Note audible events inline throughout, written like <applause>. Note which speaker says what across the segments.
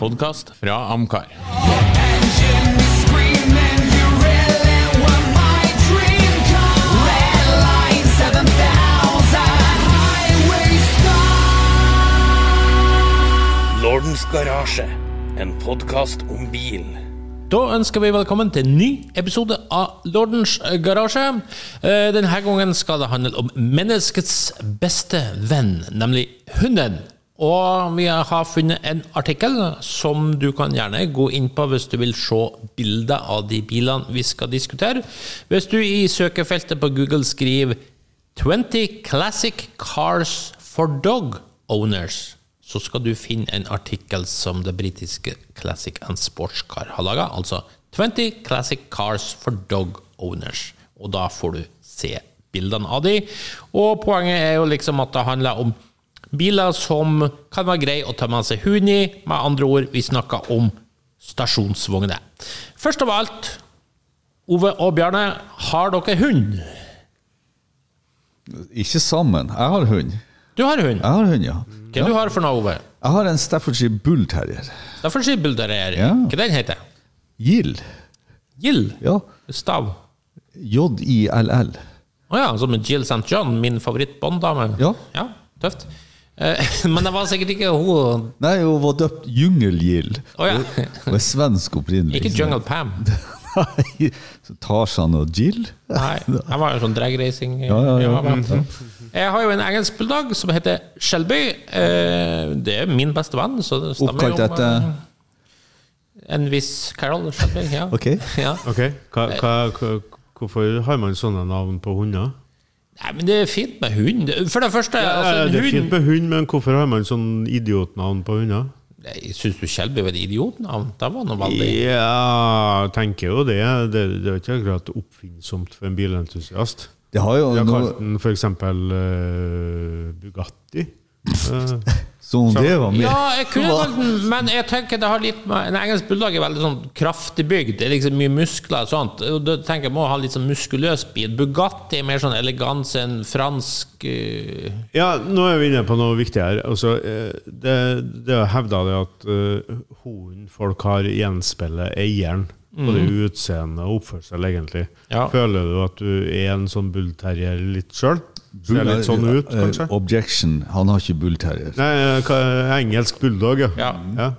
Speaker 1: Podkast fra Amcar.
Speaker 2: Lordens Garasje, en podkast om bil.
Speaker 1: Da ønsker vi velkommen til en ny episode av Lordens garasje. Eh, Denne gangen skal det handle om menneskets beste venn, nemlig hunden. Og vi har funnet en artikkel som du kan gjerne gå inn på hvis du vil se bilder av de bilene vi skal diskutere. Hvis du i søkefeltet på Google skriver 20 Classic Cars for Dog Owners, så skal du finne en artikkel som det britiske Classic and Sports Car har laga. Altså 20 Classic Cars for Dog Owners. Og da får du se bildene av de. Og poenget er jo liksom at det handler om biler som kan være greie å ta med seg hund i. Med andre ord, vi snakker om stasjonsvogner. Først av alt, Ove og Bjarne, har dere hund?
Speaker 3: Ikke sammen. Jeg har hund.
Speaker 1: Du har hund.
Speaker 3: Jeg har hund, ja.
Speaker 1: Hva du har for noe, Ove?
Speaker 3: Jeg har en Staffordshire Bull Terrier.
Speaker 1: Derfor sier bulderer.
Speaker 3: Ja.
Speaker 1: Hva den heter
Speaker 3: Gill.
Speaker 1: Gill.
Speaker 3: Ja.
Speaker 1: Stav.
Speaker 3: J-I-L-L.
Speaker 1: Å ja, som Jill St. John, min favoritt-Bond-dame.
Speaker 3: Ja.
Speaker 1: tøft. Eh, <laughs> Men det var sikkert ikke hun
Speaker 3: Nei, hun var døpt Jungelgill.
Speaker 1: Å ja.
Speaker 3: Hun er svensk opprinnelig.
Speaker 1: Ikke Jungle Pam.
Speaker 3: Nei, så Tarzan og Jill?
Speaker 1: Nei, jeg var jo sånn dragracing.
Speaker 3: Ja, ja, ja.
Speaker 1: Jeg har jo en engelsk bulldog som heter Shelby. Eh, Det er min beste venn, så det stemmer
Speaker 3: Oppkalt
Speaker 1: jo om eh,
Speaker 3: etter
Speaker 1: en viss Carol Shelby. Ja.
Speaker 3: Ok.
Speaker 1: ja.
Speaker 4: Ok, hva, hva, hva, Hvorfor har man sånne navn på hunder?
Speaker 1: Nei, men det er fint med hund. For det første, altså,
Speaker 4: Eh,
Speaker 1: en
Speaker 4: det er
Speaker 1: hund
Speaker 4: fint med hund, men hvorfor har man sånn idiotnavn på hunder?
Speaker 1: Nei, Syns du Shelby var et idiotnavn? Det var noe veldig
Speaker 4: Ja, jeg tenker jo det. Det, det er ikke akkurat oppfinnsomt for en bilentusiast.
Speaker 3: Det har jo
Speaker 4: Vi har
Speaker 3: noe
Speaker 4: kalt den for eksempel eh, Bugatti. Eh,
Speaker 3: Som om det var med.
Speaker 1: Ja, jeg kunne valgt den, men jeg tenker det har litt med En engelsk bulldog er veldig sånn kraftig bygd. Det er liksom mye muskler og sånt. Og da tenker jeg må ha en litt sånn muskuløs bil. Bugatti er mer sånn eleganse enn fransk eh,
Speaker 4: ja, nå er vi inne på noe viktig her. Altså, eh, det, det er hevda det at uh, hunden folk har, gjenspeiler eieren. Både utseende og oppførsel, egentlig.
Speaker 1: Mm. Ja.
Speaker 4: Føler du at du er en sånn bullterrier litt sjøl? Ser
Speaker 3: Bull-
Speaker 4: litt sånn ut,
Speaker 3: eh,
Speaker 4: kanskje?
Speaker 3: Objection. Han har ikke Bull Terrier.
Speaker 4: Nei, eh, hva- engelsk bulldog, ja.
Speaker 1: Ja.
Speaker 4: ja.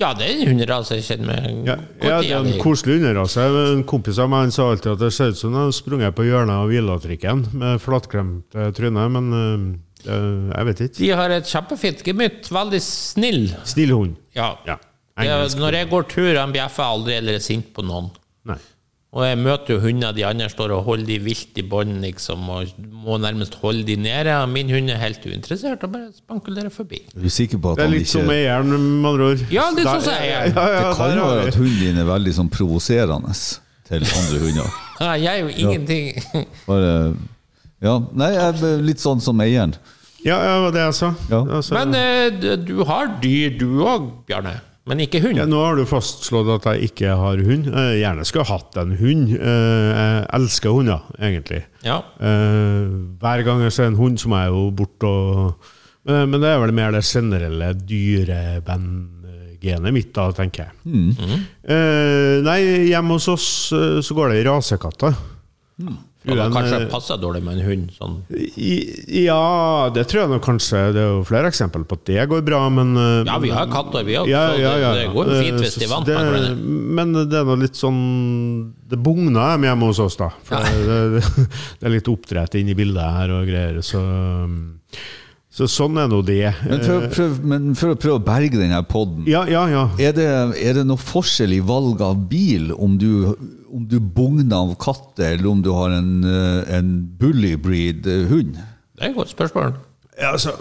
Speaker 1: Ja, det er en hunderase jeg kjenner meg
Speaker 4: Ja, ja, det er en koselig underrase. En kompis av meg han sa alltid at det ser ut som han har sprunget på hjørnet av Villatrikken med flatklemt eh, tryne, men eh, eh, jeg vet ikke.
Speaker 1: De har et kjempefint gemytt. Veldig snill.
Speaker 4: Snill hund.
Speaker 1: Ja.
Speaker 4: Ja.
Speaker 1: Det er-
Speaker 4: Engelsk.
Speaker 1: når jeg går tur, han bjeffer aldri eller er sint på noen.
Speaker 4: Nei.
Speaker 1: Og jeg møter jo hunder de andre står og holder de vilt i bånd, liksom, og må nærmest holde de nede. Og Min hund er helt uinteressert og bare spankulerer forbi.
Speaker 3: Er du sikker på at
Speaker 4: Det er
Speaker 3: han
Speaker 4: litt som
Speaker 3: ikke
Speaker 4: eieren, med andre ord.
Speaker 1: Ja, litt
Speaker 4: Der-
Speaker 1: sånn som eieren.
Speaker 4: Ja, ja,
Speaker 3: Det kan
Speaker 4: der
Speaker 3: jo
Speaker 4: har
Speaker 3: være
Speaker 4: vi.
Speaker 3: at hunden din er veldig sånn provoserende til andre hunder.
Speaker 1: Ja, Jeg er jo ingenting <laughs>
Speaker 3: Bare Ja. Nei, jeg er litt sånn som eieren.
Speaker 4: Ja, ja, det var det jeg sa.
Speaker 3: Ja.
Speaker 4: Altså,
Speaker 1: Men eh, d- du har dyr, du òg, Bjarne. Men ikke hund.
Speaker 4: ja, nå har du fastslått at jeg ikke har hund. Jeg gjerne skulle hatt en hund. Eh, Jeg elsker hunder, egentlig.
Speaker 1: Ja.
Speaker 4: Eh, hver gang jeg ser en hund, så må jeg jo bort og men, men det er vel mer det generelle dyrevenngenet mitt, da, tenker jeg.
Speaker 3: Mm.
Speaker 4: Eh, nei, hjemme hos oss eh, så går det i rasekatter.
Speaker 1: Og da
Speaker 4: Fruen,
Speaker 1: kanskje
Speaker 4: eh,
Speaker 1: passer dårlig med en hund. Sånn.
Speaker 4: i, ja, det tror jeg nå kanskje Det er jo flere eksempler på at det går bra, men eh,
Speaker 1: Ja, vi har katter, vi òg,
Speaker 4: ja,
Speaker 1: så det,
Speaker 4: ja, ja,
Speaker 1: det
Speaker 4: ja.
Speaker 1: går jo fint
Speaker 4: Eh,
Speaker 1: hvis de
Speaker 4: så-
Speaker 1: vant.
Speaker 4: det-
Speaker 1: med hverandre.
Speaker 4: Men det er nå litt sånn Det bugner dem hjemme hos oss, da. For det, det, <laughs> det er litt oppdrett inne i bildet her og greier. Så, så sånn er nå det.
Speaker 3: Men for, å prøve, men for å prøve å berge denne podden
Speaker 4: Eh. Ja, ja, ja.
Speaker 3: er det, er det noe forskjell i valg av bil om du, om du bugner av katter, eller om du har en, eh, en bullybreed eh, hund?
Speaker 1: Det er et godt spørsmål.
Speaker 4: ja altså,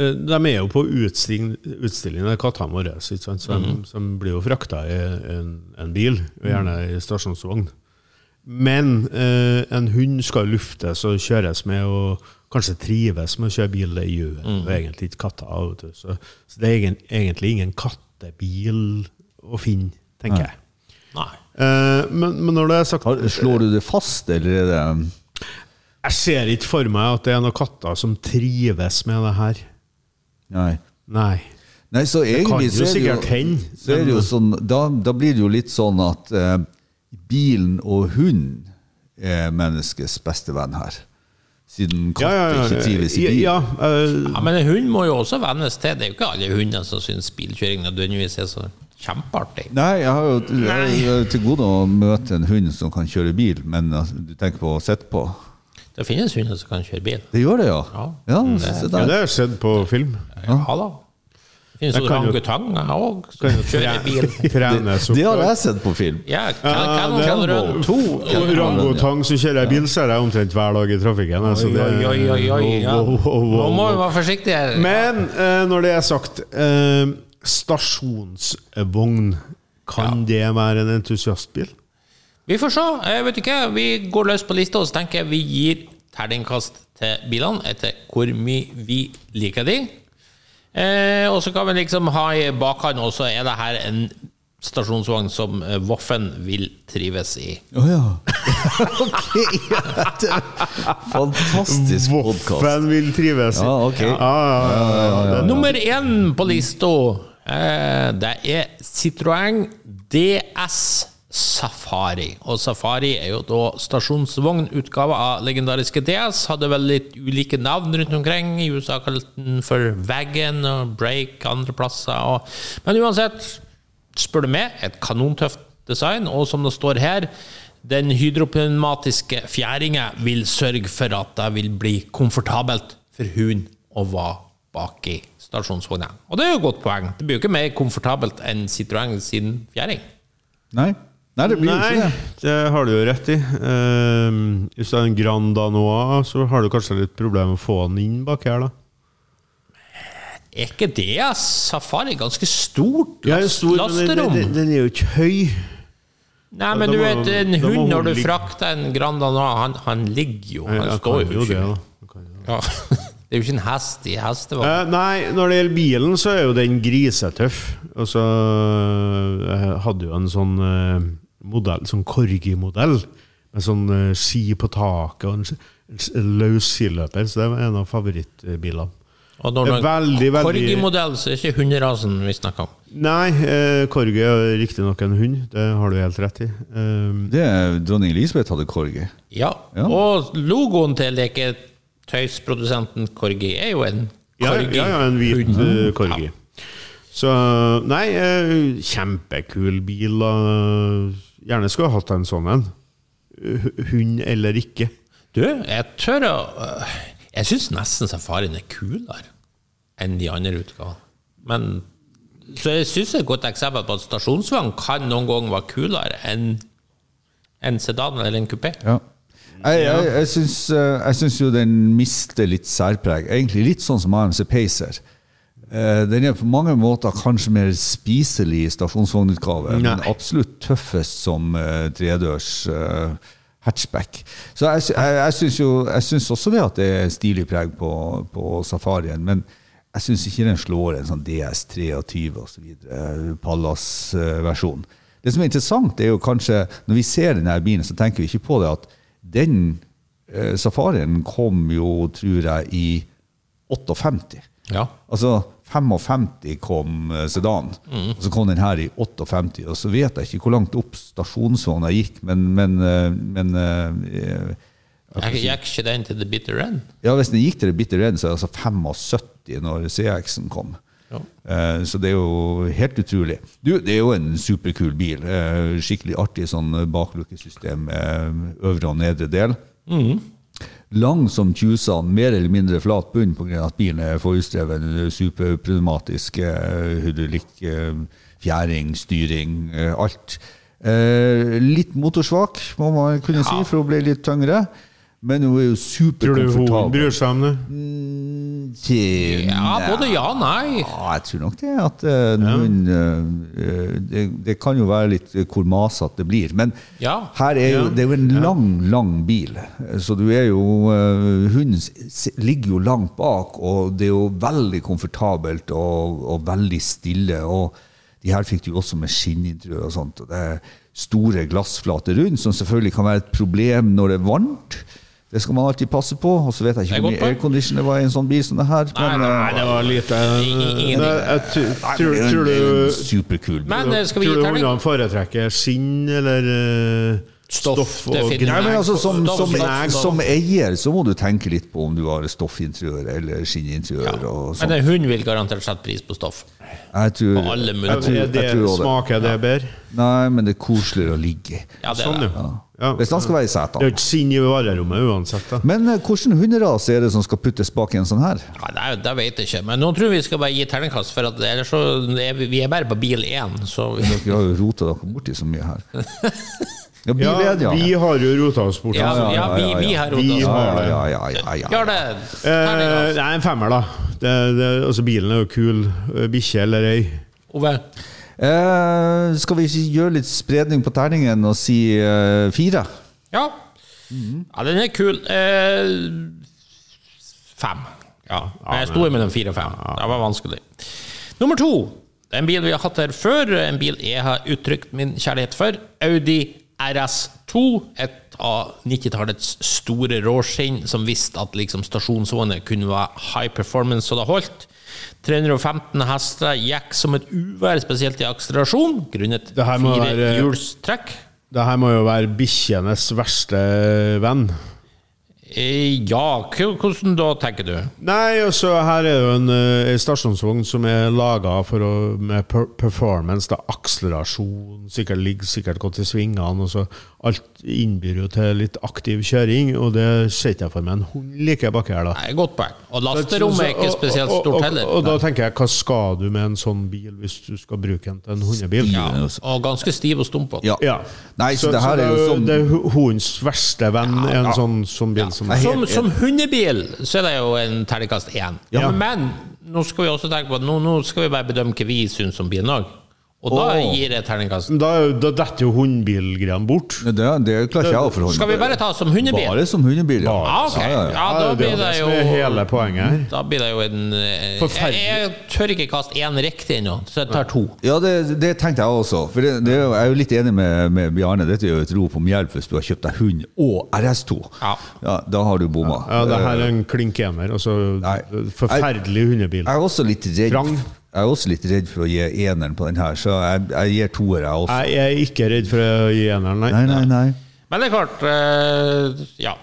Speaker 4: eh, de er jo på utstilling, utstilling av kattene våre, ikke sant? så de, de blir jo frakta i en, en bil, og gjerne i stasjonsvogn. Men eh, en hund skal luftes og kjøres med, og kanskje trives med å kjøre bil. Det gjør mm. egentlig ikke katter. vet du. Så, så det er egen, egentlig ingen kattebil å finne, tenker jeg.
Speaker 1: Nei.
Speaker 4: Eh, men, men når det er sagt
Speaker 3: Har, slår du det fast, eller er det
Speaker 4: Jeg ser ikke for meg at det er noen katter som trives med det her.
Speaker 3: Nei.
Speaker 4: Nei.
Speaker 3: Nei, så
Speaker 4: kan
Speaker 3: egentlig
Speaker 4: jo
Speaker 3: så er det jo,
Speaker 4: sikkert hende,
Speaker 3: så er det jo sånn da, da blir det jo litt sånn at eh, bilen og hunden er menneskets beste venn her. Siden katt ikke trives i bil.
Speaker 4: Ja, eh,
Speaker 1: Ja, men en hund må jo også vennes til. Det er jo ikke alle hunder som syns bilkjøring nødvendigvis er så kjempeartig.
Speaker 3: Nei, jeg har jo jeg har jo til gode å møte en hund som kan kjøre bil, men altså, du tenker på å sitte på.
Speaker 1: Det finnes hunder som kan kjøre bil.
Speaker 3: Det gjør det, ja?
Speaker 1: Ja.
Speaker 3: ja så se
Speaker 4: ja,
Speaker 3: der.
Speaker 4: det har jeg sett på film.
Speaker 1: Ja da. Det finnes
Speaker 4: Jeg kan jo-
Speaker 1: orangutanger òg
Speaker 4: Kan
Speaker 1: som
Speaker 4: jo
Speaker 1: kjører
Speaker 4: <laughs>
Speaker 1: bil.
Speaker 4: Trenes opp.
Speaker 3: Det har jeg sett på film.
Speaker 1: Ja,
Speaker 4: Ja,
Speaker 1: Ken-
Speaker 4: det-
Speaker 1: Ken Rønn.
Speaker 3: To
Speaker 4: Orangutang som kjører bil, ser jeg omtrent hver dag i trafikken. altså,
Speaker 1: Oi, oi,
Speaker 4: det-
Speaker 1: oi, oi, oi. Ja.
Speaker 4: Wow, wow, wow,
Speaker 1: Nå må vi
Speaker 4: wow.
Speaker 1: være forsiktige. her.
Speaker 4: Men eh, når det er sagt, eh, stasjonsvogn, kan det være en entusiastbil?
Speaker 1: Vi får se. Jeg vet ikke. Vi går løs på lista, og så tenker jeg vi gir terningkast til bilene etter hvor mye vi liker de. Eh, og så kan vi liksom ha i bakhånd også er det her en stasjonsvogn som eh, Voffen vil trives i.
Speaker 3: Å ja. <laughs> ok. ja, det er Fantastisk podkast.
Speaker 4: Voffen vil trives. i-
Speaker 3: Ja, ok.
Speaker 4: Ja, ja, ja, ja, ja.
Speaker 1: Nummer én på lista, eh, det er Citroën DS Safari. Og Safari er jo da stasjonsvognutgave av legendariske DS. Hadde vel litt ulike navn rundt omkring. I USA kalte den for Wagon og Break andre plasser. Og, men uansett, spør du meg, et kanontøft design, og som det står her, den hydropneumatiske fjæringa vil sørge for at det vil bli komfortabelt for hun å være bak i stasjonsvogna. Og det er jo et godt poeng. Det blir jo ikke mer komfortabelt enn Citroën sin fjæring.
Speaker 3: Nei. Nei, det blir jo ikke
Speaker 4: Nei,
Speaker 3: det.
Speaker 4: det har du jo rett i. Ehm, Hvis det er en Grand Danois, så har du kanskje litt problemer med å få han inn bak her, da.
Speaker 1: Er ikke det ja, safari ganske stort
Speaker 4: Ja, en
Speaker 1: last,
Speaker 4: stor, men den-
Speaker 1: lasterom?
Speaker 4: Den, den er jo ikke høy.
Speaker 1: Nei, men
Speaker 4: da
Speaker 1: du
Speaker 4: må-
Speaker 1: vet, en
Speaker 4: da må
Speaker 1: hund
Speaker 4: hun
Speaker 1: når du
Speaker 4: ligge.
Speaker 1: frakter en Grand Danois, han, han ligger jo. Han
Speaker 4: Ja,
Speaker 1: står
Speaker 4: kan
Speaker 1: jo ikke.
Speaker 4: da. Den kan jo det.
Speaker 1: Ja. <laughs> Det er jo ikke en hest i hestevogn.
Speaker 4: Eh, nei, når det gjelder bilen, så er jo den grisetøff. Og så eh, hadde jo en sånn eh, modell, sånn Corgi-modell, med sånn eh, ski på taket og en, s- en s- løs skiløper, så det var en av favorittbilene.
Speaker 1: Og når
Speaker 4: Det er
Speaker 1: det er
Speaker 4: veldig, veldig-
Speaker 1: Korgi-modell, så er det ikke hunderasen vi snakker om.
Speaker 4: Nei, eh, Corgi er riktignok en hund, det har du helt rett i. Eh,
Speaker 3: Det er Dronning Elisabeth hadde korgi.
Speaker 1: Ja.
Speaker 3: Ja.
Speaker 1: Og logoen til leketøysprodusenten Korgi er jo en
Speaker 4: Ja,
Speaker 1: korgi.
Speaker 4: ja, ja en hvit eh, korgi. Så Nei, eh, kjempekul bil. da. Gjerne skulle jeg hatt en sånn en. Hu- Hund eller ikke.
Speaker 1: Du, jeg tør å øh, Jeg syns nesten safarien er kulere enn de andre utgavene. Men Så jeg syns det er et godt eksempel på at stasjonsvogn kan noen ganger være kulere enn en sedan eller en kupé.
Speaker 3: Ja. Jeg, jeg, jeg, syns, eh, jeg syns jo den mister litt særpreg. Egentlig litt sånn som AMC Pacer. Eh, Den er på mange måter kanskje mer spiselig i stasjonsvognutgave, men
Speaker 4: Nei.
Speaker 3: absolutt tøffest som eh, tredørs eh, hatchback. Så jeg, sy- jeg, jeg syns jo Jeg syns også det at det er stilig preg på, på safarien, men jeg syns ikke den slår en sånn DS23 osv. eh, Pallas-versjon. eh, Det som er interessant, er jo kanskje Når vi ser denne bilen, så tenker vi ikke på det at den eh, safarien kom jo, tror jeg, i 58.
Speaker 1: Ja.
Speaker 3: Altså, 55 kom eh, sedan, og så kom den her i 58. Og så vet jeg ikke hvor langt opp stasjonsvogna gikk, men, men, eh, men eh,
Speaker 1: Jeg gikk ikke den til the bitter end.
Speaker 3: Ja, hvis den gikk til det bitter end, så er det altså 75 når CX-en kom.
Speaker 1: Ja.
Speaker 3: Eh, Så det er jo helt utrolig. Du, det er jo en superkul bil. Eh, Skikkelig artig sånn baklukkesystem, eh, øvre og nedre del.
Speaker 4: Mm.
Speaker 3: Lang som tjusan, mer eller mindre flat bunn pga. at bilen er forhjulsdreven, superproblematisk eh, hydraulikk, eh, fjæring, styring, eh, alt. Eh, Litt motorsvak, må man kunne si, for hun ble litt tyngre. Men hun er jo
Speaker 4: Tror du hun
Speaker 3: superkomfortabel.
Speaker 4: bryr seg om det?
Speaker 3: Mm, Til-
Speaker 1: Ja, både ja og nei.
Speaker 3: ja, jeg tror nok det. at eh, noen, eh, eh, det, det kan jo være litt eh, hvor masete det blir. Men
Speaker 1: Ja.
Speaker 3: her er jo, det er jo en lang, lang bil. Eh, Så du er jo eh, Hunden s- s- ligger jo langt bak, og det er jo veldig komfortabelt og, og veldig stille. og de her fikk du jo også med skinninteriør og sånt. og det er Store glassflater rundt, som selvfølgelig kan være et problem når det er varmt. Det skal man alltid passe på. Og så vet jeg
Speaker 1: Det er
Speaker 3: ikke
Speaker 1: godt
Speaker 3: hvor mye
Speaker 1: poeng.
Speaker 3: aircondition det var i en sånn bil som det her.
Speaker 1: Nei,
Speaker 3: men,
Speaker 1: nei,
Speaker 3: eh,
Speaker 1: det var
Speaker 4: Lite
Speaker 1: Ingenting.
Speaker 4: Nei, jeg tu-
Speaker 3: nei,
Speaker 4: Tror
Speaker 3: men det er en-
Speaker 4: tror
Speaker 3: det er en
Speaker 4: du
Speaker 3: Superkul bil.
Speaker 1: Men eh, skal vi gi
Speaker 4: Tror du
Speaker 1: terning?
Speaker 4: hundene foretrekker skinn eller eh,
Speaker 1: Stoff,
Speaker 4: stoff, og
Speaker 1: definitivt.
Speaker 3: Nei,
Speaker 4: gnegg?
Speaker 3: men altså, som,
Speaker 1: Stoff,
Speaker 3: som,
Speaker 1: stoff, stoff.
Speaker 3: som eier så må du tenke litt på om du har stoffinteriør eller skinninteriør. og
Speaker 1: Men
Speaker 3: sånt.
Speaker 1: en hund vil garantert sette pris på stoff.
Speaker 3: Jeg tror,
Speaker 1: på alle mulige-
Speaker 3: jeg tror,
Speaker 4: Er
Speaker 3: jeg
Speaker 4: det-
Speaker 3: tror også det.
Speaker 4: Smaker det bedre?
Speaker 3: Nei, men det er koseligere å ligge i.
Speaker 1: Ja, det er
Speaker 4: Sånn,
Speaker 1: det.
Speaker 4: ja. ja.
Speaker 3: Hvis han skal være i
Speaker 4: Det er jo
Speaker 3: setene.
Speaker 4: ikke skinn i varerommet uansett, da.
Speaker 3: Men eh, hvilken hunderase er det som skal puttes bak i en sånn her?
Speaker 1: Nei, det, er- det vet jeg ikke. Men nå tror jeg vi skal bare gi terningkast, for at ellers så er vi, vi er bare på bil én. Så vi,
Speaker 3: Dere har jo rota dere borti så mye her. Ja,
Speaker 4: Ja,
Speaker 3: bilen, ja.
Speaker 4: vi har jo rota oss bort.
Speaker 1: ja,
Speaker 4: altså.
Speaker 1: ja, vi, vi har rota
Speaker 4: Vi
Speaker 1: oss.
Speaker 4: har-
Speaker 3: ja, ja, ja, ja, ja.
Speaker 1: Gjør det!
Speaker 4: Eh,
Speaker 1: Terningkast.
Speaker 4: nei, en femmer, da. Det, det, altså, bilen er jo kul. Eh, Bikkje eller ei.
Speaker 1: Ove.
Speaker 3: Eh, skal vi ikke gjøre litt spredning på terningen og si eh, fire?
Speaker 1: Ja. ja, den er kul. Eh, fem. Ja, men jeg sto mellom fire og fem. Det var vanskelig. Nummer to. En bil vi har hatt her før, en bil jeg har uttrykt min kjærlighet for. Audi RS2. Et av 90-tallets store råskinn som visste at liksom stasjonsvogner kunne være high performance så det holdt. 315 hester gikk som et uvær, spesielt i akselerasjon, grunnet
Speaker 4: Det her må være-
Speaker 1: firehjulstrekk.
Speaker 4: Det her må jo være bikkjenes verste venn.
Speaker 1: Eh, Ja, k- hvordan da, tenker du?
Speaker 4: Nei, og så her er jo en, eh, en stasjonsvogn som er laga med per performance. Da, akselerasjon, sikkert ligger sikkert godt i svingene. Og så alt innbyr jo til litt aktiv kjøring, og det ser ikke jeg for meg en hund like bak her, da.
Speaker 1: Nei, godt poeng. Og lasterommet Altså, er ikke spesielt stort
Speaker 4: Og,
Speaker 1: heller.
Speaker 4: og, og da tenker jeg, hva skal du med en sånn bil hvis du skal bruke den til en hundebil?
Speaker 1: Ja, og ganske stiv og stumpete.
Speaker 3: Ja.
Speaker 4: Ja.
Speaker 3: Nei, så, det her er jo sånn
Speaker 4: Det er hu- hundens verste venn, en sånn, sånn bil som
Speaker 1: Som, som hundebil så er det jo en terningkast én.
Speaker 4: Ja.
Speaker 1: Men nå skal vi også tenke på at nå, nå skal vi bare bedømme hva vi syns om bilen òg. Og da
Speaker 3: Åh.
Speaker 1: gir jeg terningkast.
Speaker 4: Men Da, er jo- da detter jo hundbilgreiene bort.
Speaker 3: Det, det klarer ikke jeg å forholde
Speaker 1: Skal vi bare ta som hundebil?
Speaker 3: Bare som hundebil, ja.
Speaker 1: Ja, ok.
Speaker 3: Ja, ja, ja.
Speaker 1: Ja, da
Speaker 4: det er
Speaker 1: blir det
Speaker 4: som
Speaker 1: jo
Speaker 4: er hele poenget her.
Speaker 1: Da blir det jo en eh, Jeg,
Speaker 4: Forferdelig.
Speaker 1: jeg tør ikke kaste én riktig ennå, så jeg tar to.
Speaker 3: Ja, det, det tenkte jeg også. For det, det, er jo- jeg er jo litt enig med, med Bjarne. Dette er jo et rop om hjelp hvis du har kjøpt deg hund og RS2.
Speaker 1: Ja.
Speaker 3: Da har du bomma.
Speaker 4: Ja, det her er en klinkemer. Altså,
Speaker 3: Nei.
Speaker 4: forferdelig hundebil.
Speaker 3: Eh, Jeg er også litt redd
Speaker 4: Vrang.
Speaker 3: Jeg er også litt redd for å gi eneren på den her, så jeg, jeg gir toer, jeg også.
Speaker 4: Jeg er ikke redd for å gi eneren, nei.
Speaker 3: Nei, nei, nei.
Speaker 1: Men det er klart eh, Ja.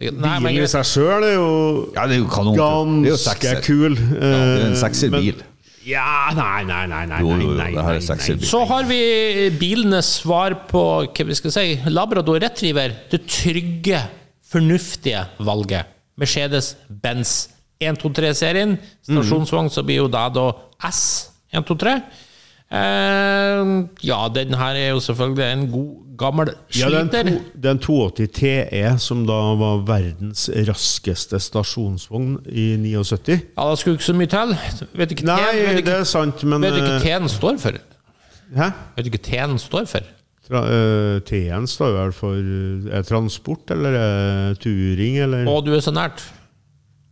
Speaker 1: Nei, men
Speaker 4: Bilen i
Speaker 1: greit.
Speaker 4: seg sjøl er jo
Speaker 3: Ja, det er jo kanon. det er jo
Speaker 4: ganske
Speaker 3: sekser.
Speaker 4: kul. eh,
Speaker 3: Det er en sekserbil.
Speaker 4: Ja, nei, nei, nei. nei,
Speaker 3: Jo, jo, jo,
Speaker 4: nei, nei,
Speaker 3: det her er
Speaker 4: nei,
Speaker 3: sekserbil.
Speaker 1: Så har vi bilenes svar på hva vi skal si, Labrador Retriever. Det trygge, fornuftige valget. Mercedes-Benz 123-serien. Stasjonsvogn så blir jo da, da S123. Eh, ja, den her er jo selvfølgelig en god, gammel
Speaker 4: Ja, det er en
Speaker 1: sliter.
Speaker 4: to- det er en 280 TE som da var verdens raskeste stasjonsvogn i 79.
Speaker 1: Ja, da skulle ikke så mye til. Vet du ikke
Speaker 4: Nei,
Speaker 1: T-en- vet du
Speaker 4: det
Speaker 1: ikke-
Speaker 4: er sant, men
Speaker 1: vet du ikke E.
Speaker 4: eh,
Speaker 1: T-en står for?
Speaker 4: Hæ?
Speaker 1: Vet du ikke T-en står for?
Speaker 4: Tra, eh, T-en står vel for eh, er transport eller eh, turing eller
Speaker 1: Å, du er så nært.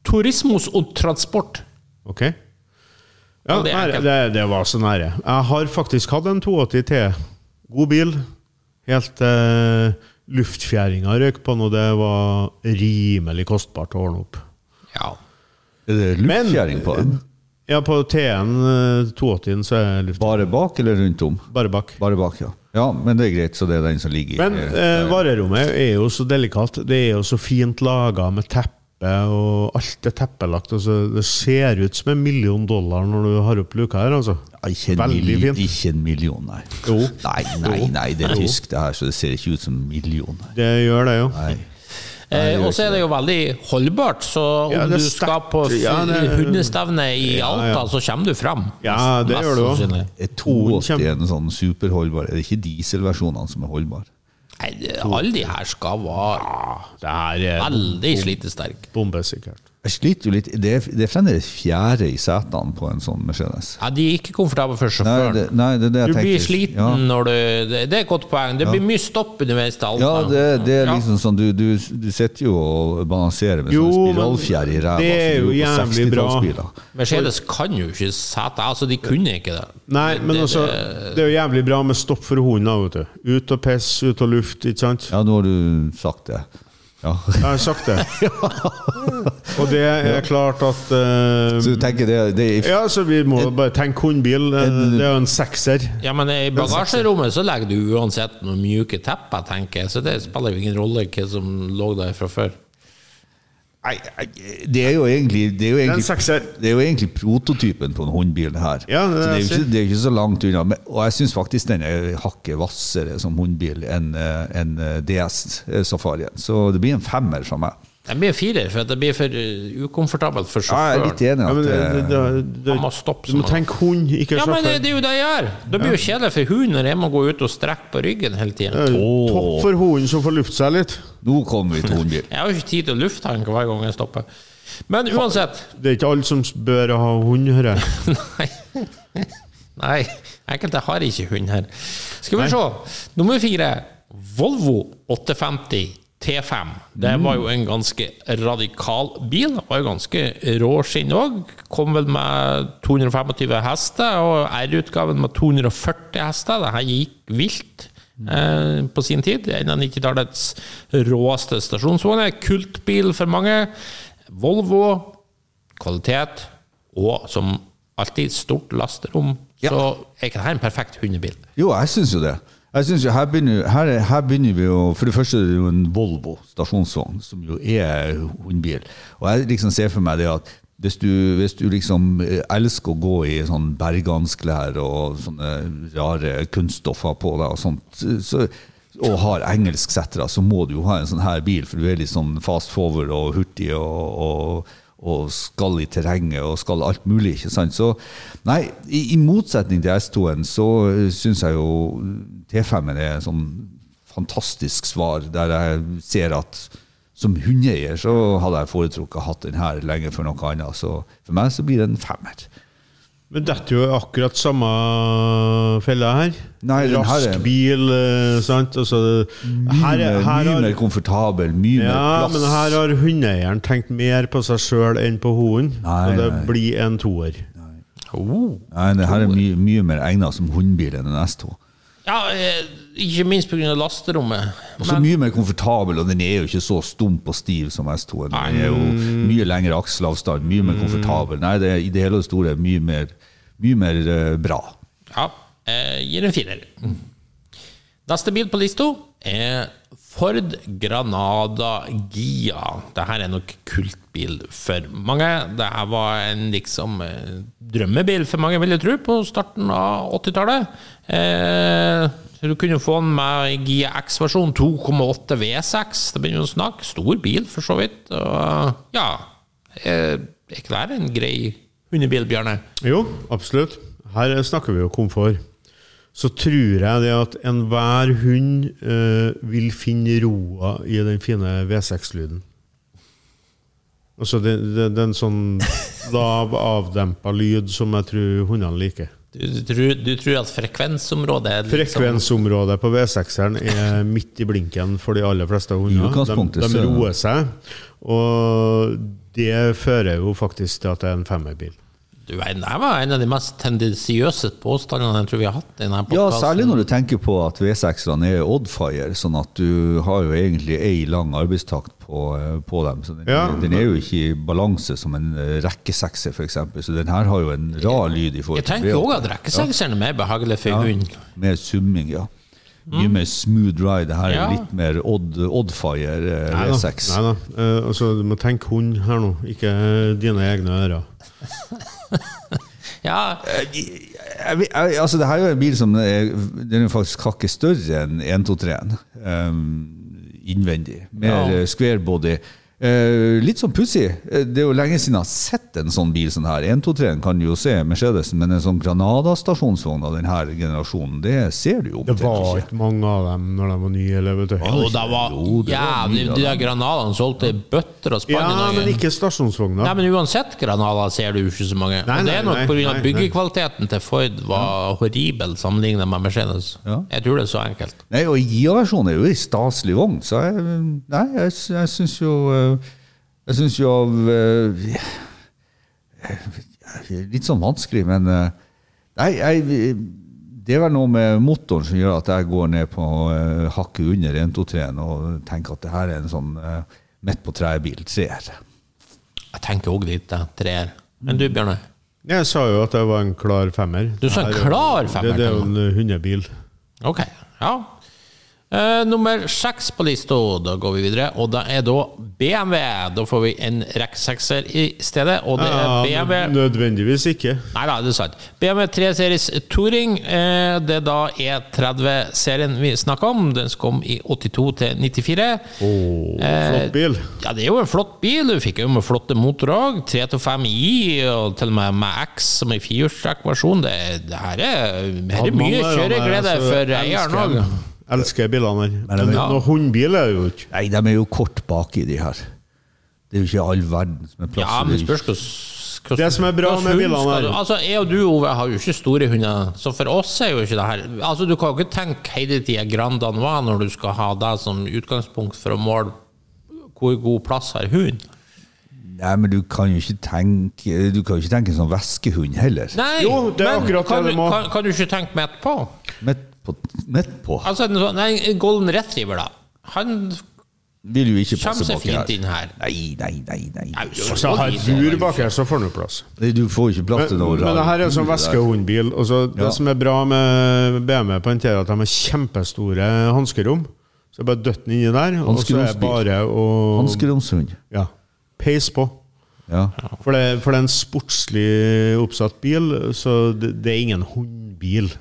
Speaker 1: Turismos og transport.
Speaker 4: Ok. Ja,
Speaker 1: Ja, det
Speaker 4: det,
Speaker 1: er
Speaker 4: nære,
Speaker 1: enkelt.
Speaker 4: det, det var så nære. Jeg har faktisk hatt en 280 TE. God bil. Helt eh, luftfjæringa røk på den, og det var rimelig kostbart å ordne opp.
Speaker 1: Ja.
Speaker 3: Er det luftfjæring på den?
Speaker 4: Ja, på T-en, eh, 280-en, så er luft
Speaker 3: Bare bak eller rundt om?
Speaker 4: bare bak.
Speaker 3: Bare bak, ja. Ja, Men det er greit, så det er den som ligger i.
Speaker 4: Men eh, varerommet er jo så delikat. Det er jo så fint laga med teppe, og alt er teppelagt. Altså, det ser ut som en million dollar når du har opp luka her, altså.
Speaker 3: Ja, Ikke en,
Speaker 4: Veldig
Speaker 3: milli-
Speaker 4: fint.
Speaker 3: ikke en million, nei.
Speaker 4: Jo.
Speaker 3: Nei, nei, nei, det er tysk det her, så det ser ikke ut som en million. Nei.
Speaker 4: Det gjør det, jo.
Speaker 3: Nei.
Speaker 1: Eh, og så er det jo veldig holdbart, så om
Speaker 4: Ja, det
Speaker 1: du
Speaker 4: er
Speaker 1: skal på
Speaker 4: sterkt. Ja, det er-
Speaker 1: hundestevne i Alta, så kommer du fram.
Speaker 4: Ja, det
Speaker 1: Mest
Speaker 4: gjør du også.
Speaker 1: sannsynlig.
Speaker 3: Er 82 en sånn superholdbar? Er det ikke dieselversjonene som er holdbare?
Speaker 1: Nei, det- alle de her skal være
Speaker 4: Det her er
Speaker 1: veldig slitesterke.
Speaker 4: bombesikkert.
Speaker 3: Jeg sliter jo litt Det er, det er fremdeles fjerde i setene på en sånn Mercedes.
Speaker 1: Ja, de er ikke komfortable for
Speaker 3: Nei,
Speaker 1: sjåføren.
Speaker 3: det, nei, det er det jeg
Speaker 1: du
Speaker 3: tenker.
Speaker 1: blir sliten
Speaker 3: Ja.
Speaker 1: når du Det det er et godt poeng. Det blir mye stopp underveis til Alta.
Speaker 3: Ja, det, det er
Speaker 1: Ja.
Speaker 3: liksom sånn Du, du, du sitter jo og balanserer med
Speaker 4: Jo,
Speaker 3: sånne
Speaker 4: men
Speaker 3: spiralfjær i ræva.
Speaker 4: det er
Speaker 3: som du
Speaker 4: jo
Speaker 3: gjorde på
Speaker 4: jævlig bra.
Speaker 3: 60-tallsbiler.
Speaker 1: Mercedes kan jo ikke sette Altså, de kunne ikke det.
Speaker 4: Nei, men altså, det er jo jævlig bra med stopp for hunden, da, vet du. Ut og piss, ut og luft, ikke sant?
Speaker 3: Ja, nå har du sagt det. Ja. <laughs>
Speaker 4: Jeg har sagt det. Og det er klart at eh,
Speaker 3: Så du tenker det, det er
Speaker 4: Ja, så vi må bare tenke hundbil. eh, Det er jo en sekser.
Speaker 1: Ja, men i bagasjerommet så legger du uansett noen mjuke tepper, tenker jeg, så det spiller jo ingen rolle hva som lå der fra før.
Speaker 3: Nei, nei, det er jo egentlig Det er jo
Speaker 4: Det er en
Speaker 3: egentlig,
Speaker 4: sekser.
Speaker 3: det er jo egentlig prototypen på en håndbil, det her.
Speaker 4: Ja, det
Speaker 3: så det er jo
Speaker 4: er jeg sier.
Speaker 3: ikke, det er jo ikke så langt unna. Men, og jeg syns faktisk den er hakket hvassere som håndbil enn eh, enn, eh, DS Safarien. Så det blir en femmer fra meg.
Speaker 1: Det blir firer, for det blir for uh, ukomfortabelt for
Speaker 3: Ja, jeg
Speaker 1: sjåføren.
Speaker 3: er litt enig. i
Speaker 4: Ja, men
Speaker 3: At,
Speaker 4: det, det,
Speaker 3: eh,
Speaker 4: det,
Speaker 1: Han må
Speaker 4: det,
Speaker 1: stoppe
Speaker 4: du må
Speaker 1: sånn.
Speaker 4: tenke hund, ikke
Speaker 1: Ja, men eh, det,
Speaker 4: sjåfør.
Speaker 1: det er jo det jeg gjør! Det blir jo kjedelig for hun når jeg må gå ut og strekke på ryggen hele tiden.
Speaker 3: Åh.
Speaker 4: Topp for hunden som får lufte seg litt.
Speaker 3: eh, nå kommer vi til håndbil.
Speaker 1: Jeg har jo ikke tid til å lufte han hver gang jeg stopper. Men uansett
Speaker 4: Det er ikke alle som bør ha hund,
Speaker 3: <laughs>
Speaker 4: hører jeg.
Speaker 1: Nei. Nei. Enkelte har ikke hund her. Skal vi se. Nummer fire. Volvo 850 T5. Det var jo en ganske radikal bil. Det var jo ganske rå skinn òg. Kom vel med 225 hester, og R-utgaven med 240 hester. Det her gikk vilt. Eh, på sin tid. En av 90-tallets råeste stasjonsvogner. Kultbil for mange. Volvo kvalitet, og som alltid stort lasterom.
Speaker 3: Ja.
Speaker 1: Så er ikke dette en perfekt hundebil?
Speaker 3: Jo, jeg syns jo det. Jeg synes jo her, begynner, her, her begynner vi å For det første er det jo en Volvo stasjonsvogn, som jo er hundbil. Og jeg liksom ser for meg det at hvis du, hvis du liksom eh, elsker å gå i sånn bergansklær og sånne rare kunststoffer på deg og sånt, så, og har engelsksettere, så må du jo ha en sånn her bil, for du er litt sånn fast forward og hurtig og, og og skal i terrenget og skal alt mulig. ikke sant? Så nei, i, i motsetning til S2-en så syns jeg jo T5-en er et sånn fantastisk svar, der jeg ser at som hundeeier så hadde jeg foretrukket å hatt den her lenge før noe annet. Så for meg så blir det en femmer.
Speaker 4: Men dette er jo akkurat samme fella her.
Speaker 3: Nei, den her
Speaker 4: Rask
Speaker 3: er-
Speaker 4: bil, eh, sant. Altså,
Speaker 3: Mye,
Speaker 4: her, er- her
Speaker 3: mye
Speaker 4: har,
Speaker 3: mer komfortabel, mye
Speaker 4: ja,
Speaker 3: mer
Speaker 4: men
Speaker 3: plass.
Speaker 4: her har hundeeieren tenkt mer på seg sjøl enn på hunden.
Speaker 3: Nei,
Speaker 4: Og det
Speaker 3: nei.
Speaker 4: blir en toer.
Speaker 1: Oh.
Speaker 3: Nei, det her er mye, mye mer egnet som hundbil enn en S2.
Speaker 1: Ja, eh, ikke minst pga. lasterommet.
Speaker 3: Og så
Speaker 1: Men
Speaker 3: mye mer komfortabel, og den er jo ikke så stump og stiv som S2. Den er jo mye lengre akselavstand, mye mer komfortabel. Nei, det er i det hele og store mye mer, mye mer eh, bra.
Speaker 1: ja, eh, gir en firer. Neste bil på lista er Ford Granada Gia. Dette er nok kultbil for mange. Dette var en liksom eh, drømmebil for mange, vil jeg tro, på starten av 80-tallet. Eh, så du kunne få den med Gia X-versjon 2,8 V6. Det begynner jo å snakke. Stor bil, for så vidt. Og ja, eh, er ikke det her en grei hundebil, Bjarne?
Speaker 4: Jo, absolutt. Her snakker vi jo komfort. Så tror jeg det at enhver hund eh, vil finne roa i den fine V6-lyden. Altså det, det, det er en
Speaker 3: <laughs>
Speaker 4: sånn lav, avdempa lyd som jeg tror hundene liker.
Speaker 1: Du, du, tror- du tror at frekvensområdet er litt sånn-
Speaker 4: Frekvensområdet på V6-eren er midt i blinken for de aller fleste
Speaker 3: I
Speaker 4: hunder.
Speaker 3: utgangspunktet
Speaker 4: De, de
Speaker 3: så-
Speaker 4: roer seg, og det fører jo faktisk til at det er en femmerbil.
Speaker 1: Du verden, Det var en av de mest tendensiøse påstandene jeg tror vi har hatt. i denne
Speaker 3: Ja,
Speaker 1: podcasten.
Speaker 3: særlig når du tenker på at V6-ene er oddfire, sånn at du har jo egentlig ei lang arbeidstakt på, eh, på dem. Så den,
Speaker 4: Ja.
Speaker 3: den er jo ikke i balanse som en eh, rekkesekser, f.eks. Så den her har jo en rar lyd i forhold
Speaker 1: Jeg tenker òg
Speaker 3: V8.
Speaker 1: at rekkesengseren er mer behagelig for hund.
Speaker 3: Mer summing, ja.
Speaker 4: Mm.
Speaker 3: Mye mer smooth ride. Det her er
Speaker 1: Ja.
Speaker 3: litt mer odd, oddfire eh,
Speaker 4: Nei da.
Speaker 3: V6.
Speaker 4: Nei da. Eh, altså, du må tenke hund her nå, ikke eh, dine egne ører.
Speaker 1: Ja,
Speaker 3: Eh, jeg, vet- jeg, altså, det her er jo en bil som er, den er faktisk hakket større enn 123-en Ehm, innvendig. Mer
Speaker 1: Ja.
Speaker 3: eh, square body. Eh, litt sånn pussig. Eh, Det er jo lenge siden jeg har sett en sånn bil. sånn her 123-en kan du jo se Mercedesen, men en sånn Granada-stasjonsvogn av denne generasjonen, det ser du jo
Speaker 4: Det
Speaker 3: omtrent ikke.
Speaker 4: var ikke mange av dem når de var nye. Eller, vet du.
Speaker 1: og det var
Speaker 3: Jo, det var
Speaker 1: jævlig
Speaker 3: mye,
Speaker 1: De
Speaker 3: da.
Speaker 1: der granadene solgte i bøtter og spann
Speaker 4: Ja,
Speaker 1: i Norge.
Speaker 4: men ikke
Speaker 1: Nei,
Speaker 4: stasjonsvogna.
Speaker 1: men uansett granader ser du jo ikke så mange.
Speaker 4: Nei,
Speaker 1: og det
Speaker 4: nei,
Speaker 1: er nok
Speaker 4: nei,
Speaker 1: pga.
Speaker 4: nei,
Speaker 1: byggekvaliteten til Ford var horribel sammenlignet med Mercedes.
Speaker 3: Ja.
Speaker 1: Jeg tror det er så enkelt.
Speaker 3: Nei, og GIA-versjonen er jo en staselig vogn, så jeg, nei, jeg, jeg syns jo eh, Jeg syns jo av eh, Litt sånn vanskelig, men eh, Nei, jeg, eh, Det er vel noe med motoren som gjør at jeg går ned på eh, hakket under 123-en og tenker at det her er en sånn eh, midt på treet-bil. Treer.
Speaker 1: Jeg tenker òg dit, jeg. Treer. Men du, Bjørne?
Speaker 4: Jeg sa jo at jeg var en klar femmer.
Speaker 1: Du sa en
Speaker 4: Det er jo-
Speaker 1: klar femmer,
Speaker 4: Det, det er jo en eh, hundebil.
Speaker 1: Ok, ja. Eh, nummer seks på lista, da går vi videre, og da er da BMW. Da får vi en rekk-sekser i stedet, og det er
Speaker 4: Ja,
Speaker 1: BMW
Speaker 4: nød- nødvendigvis ikke.
Speaker 1: Nei da, det er sant. BMW 3 Series Touring, eh, det er da E30-serien vi snakker om. Den kom i 82 til 94.
Speaker 4: Åh, flott bil.
Speaker 1: Ja, det er jo en flott bil. Du fikk jo med flotte motorer òg. 325 i, og til og med med X som en firehjulstrekkversjon. Det, det her er, her
Speaker 4: Hadde
Speaker 1: er mye
Speaker 4: mange av dem her,
Speaker 1: kjøreglede
Speaker 4: så
Speaker 1: for
Speaker 4: elsker
Speaker 1: eieren òg.
Speaker 4: altså, jeg- Elsker bilene her. Men
Speaker 1: Ja.
Speaker 4: noen hundbil er det jo ikke.
Speaker 3: Nei, de er jo kort baki, de her. Det er jo ikke all verden som er plass.
Speaker 1: Ja,
Speaker 3: til
Speaker 1: men
Speaker 3: de.
Speaker 1: spørs hvordan hvordan-
Speaker 4: Det som er bra
Speaker 1: hvordan
Speaker 4: med
Speaker 1: hund
Speaker 4: bilene
Speaker 1: skal
Speaker 4: her-
Speaker 1: du- Altså, Jeg og du Ove, har jo ikke store hunder, så for oss er jo ikke det her Altså, Du kan jo ikke tenke hele tida Grand Danois når du skal ha det som utgangspunkt for å måle hvor god plass har hund.
Speaker 3: Nei, men du kan jo ikke tenke Du kan jo ikke tenke en sånn veskehund heller.
Speaker 1: Nei,
Speaker 4: Jo, det er
Speaker 1: men
Speaker 4: akkurat
Speaker 1: kan,
Speaker 4: det
Speaker 1: du-
Speaker 4: du må.
Speaker 1: kan, kan du ikke tenke midt på?
Speaker 3: Midt på, midt på.
Speaker 1: Altså, en sånn- nei, en golden retriever, da. Han
Speaker 3: Vil jo ikke
Speaker 1: kommer
Speaker 3: passe
Speaker 1: seg
Speaker 3: baki
Speaker 1: fint
Speaker 3: her.
Speaker 1: inn her.
Speaker 3: Nei, nei, nei. nei.
Speaker 1: Nei, så
Speaker 4: Så har
Speaker 1: lite,
Speaker 4: bur
Speaker 1: men-
Speaker 4: bak her, så får du plass.
Speaker 3: Nei, Du får jo ikke plass
Speaker 4: Men,
Speaker 3: til noe
Speaker 4: men det her er en sånn veskehundbil. og så
Speaker 3: Ja.
Speaker 4: Det som er bra med BMW på en T, er at de har kjempestore hanskerom. Så jeg bare døtter den inni der, og så er
Speaker 3: Hanskeromsbil.
Speaker 4: det bare å
Speaker 3: Hanskeromshund.
Speaker 4: ja, peise på.
Speaker 3: Ja.
Speaker 4: For det, for det er en sportslig oppsatt bil, så det, det er ingen hundbil.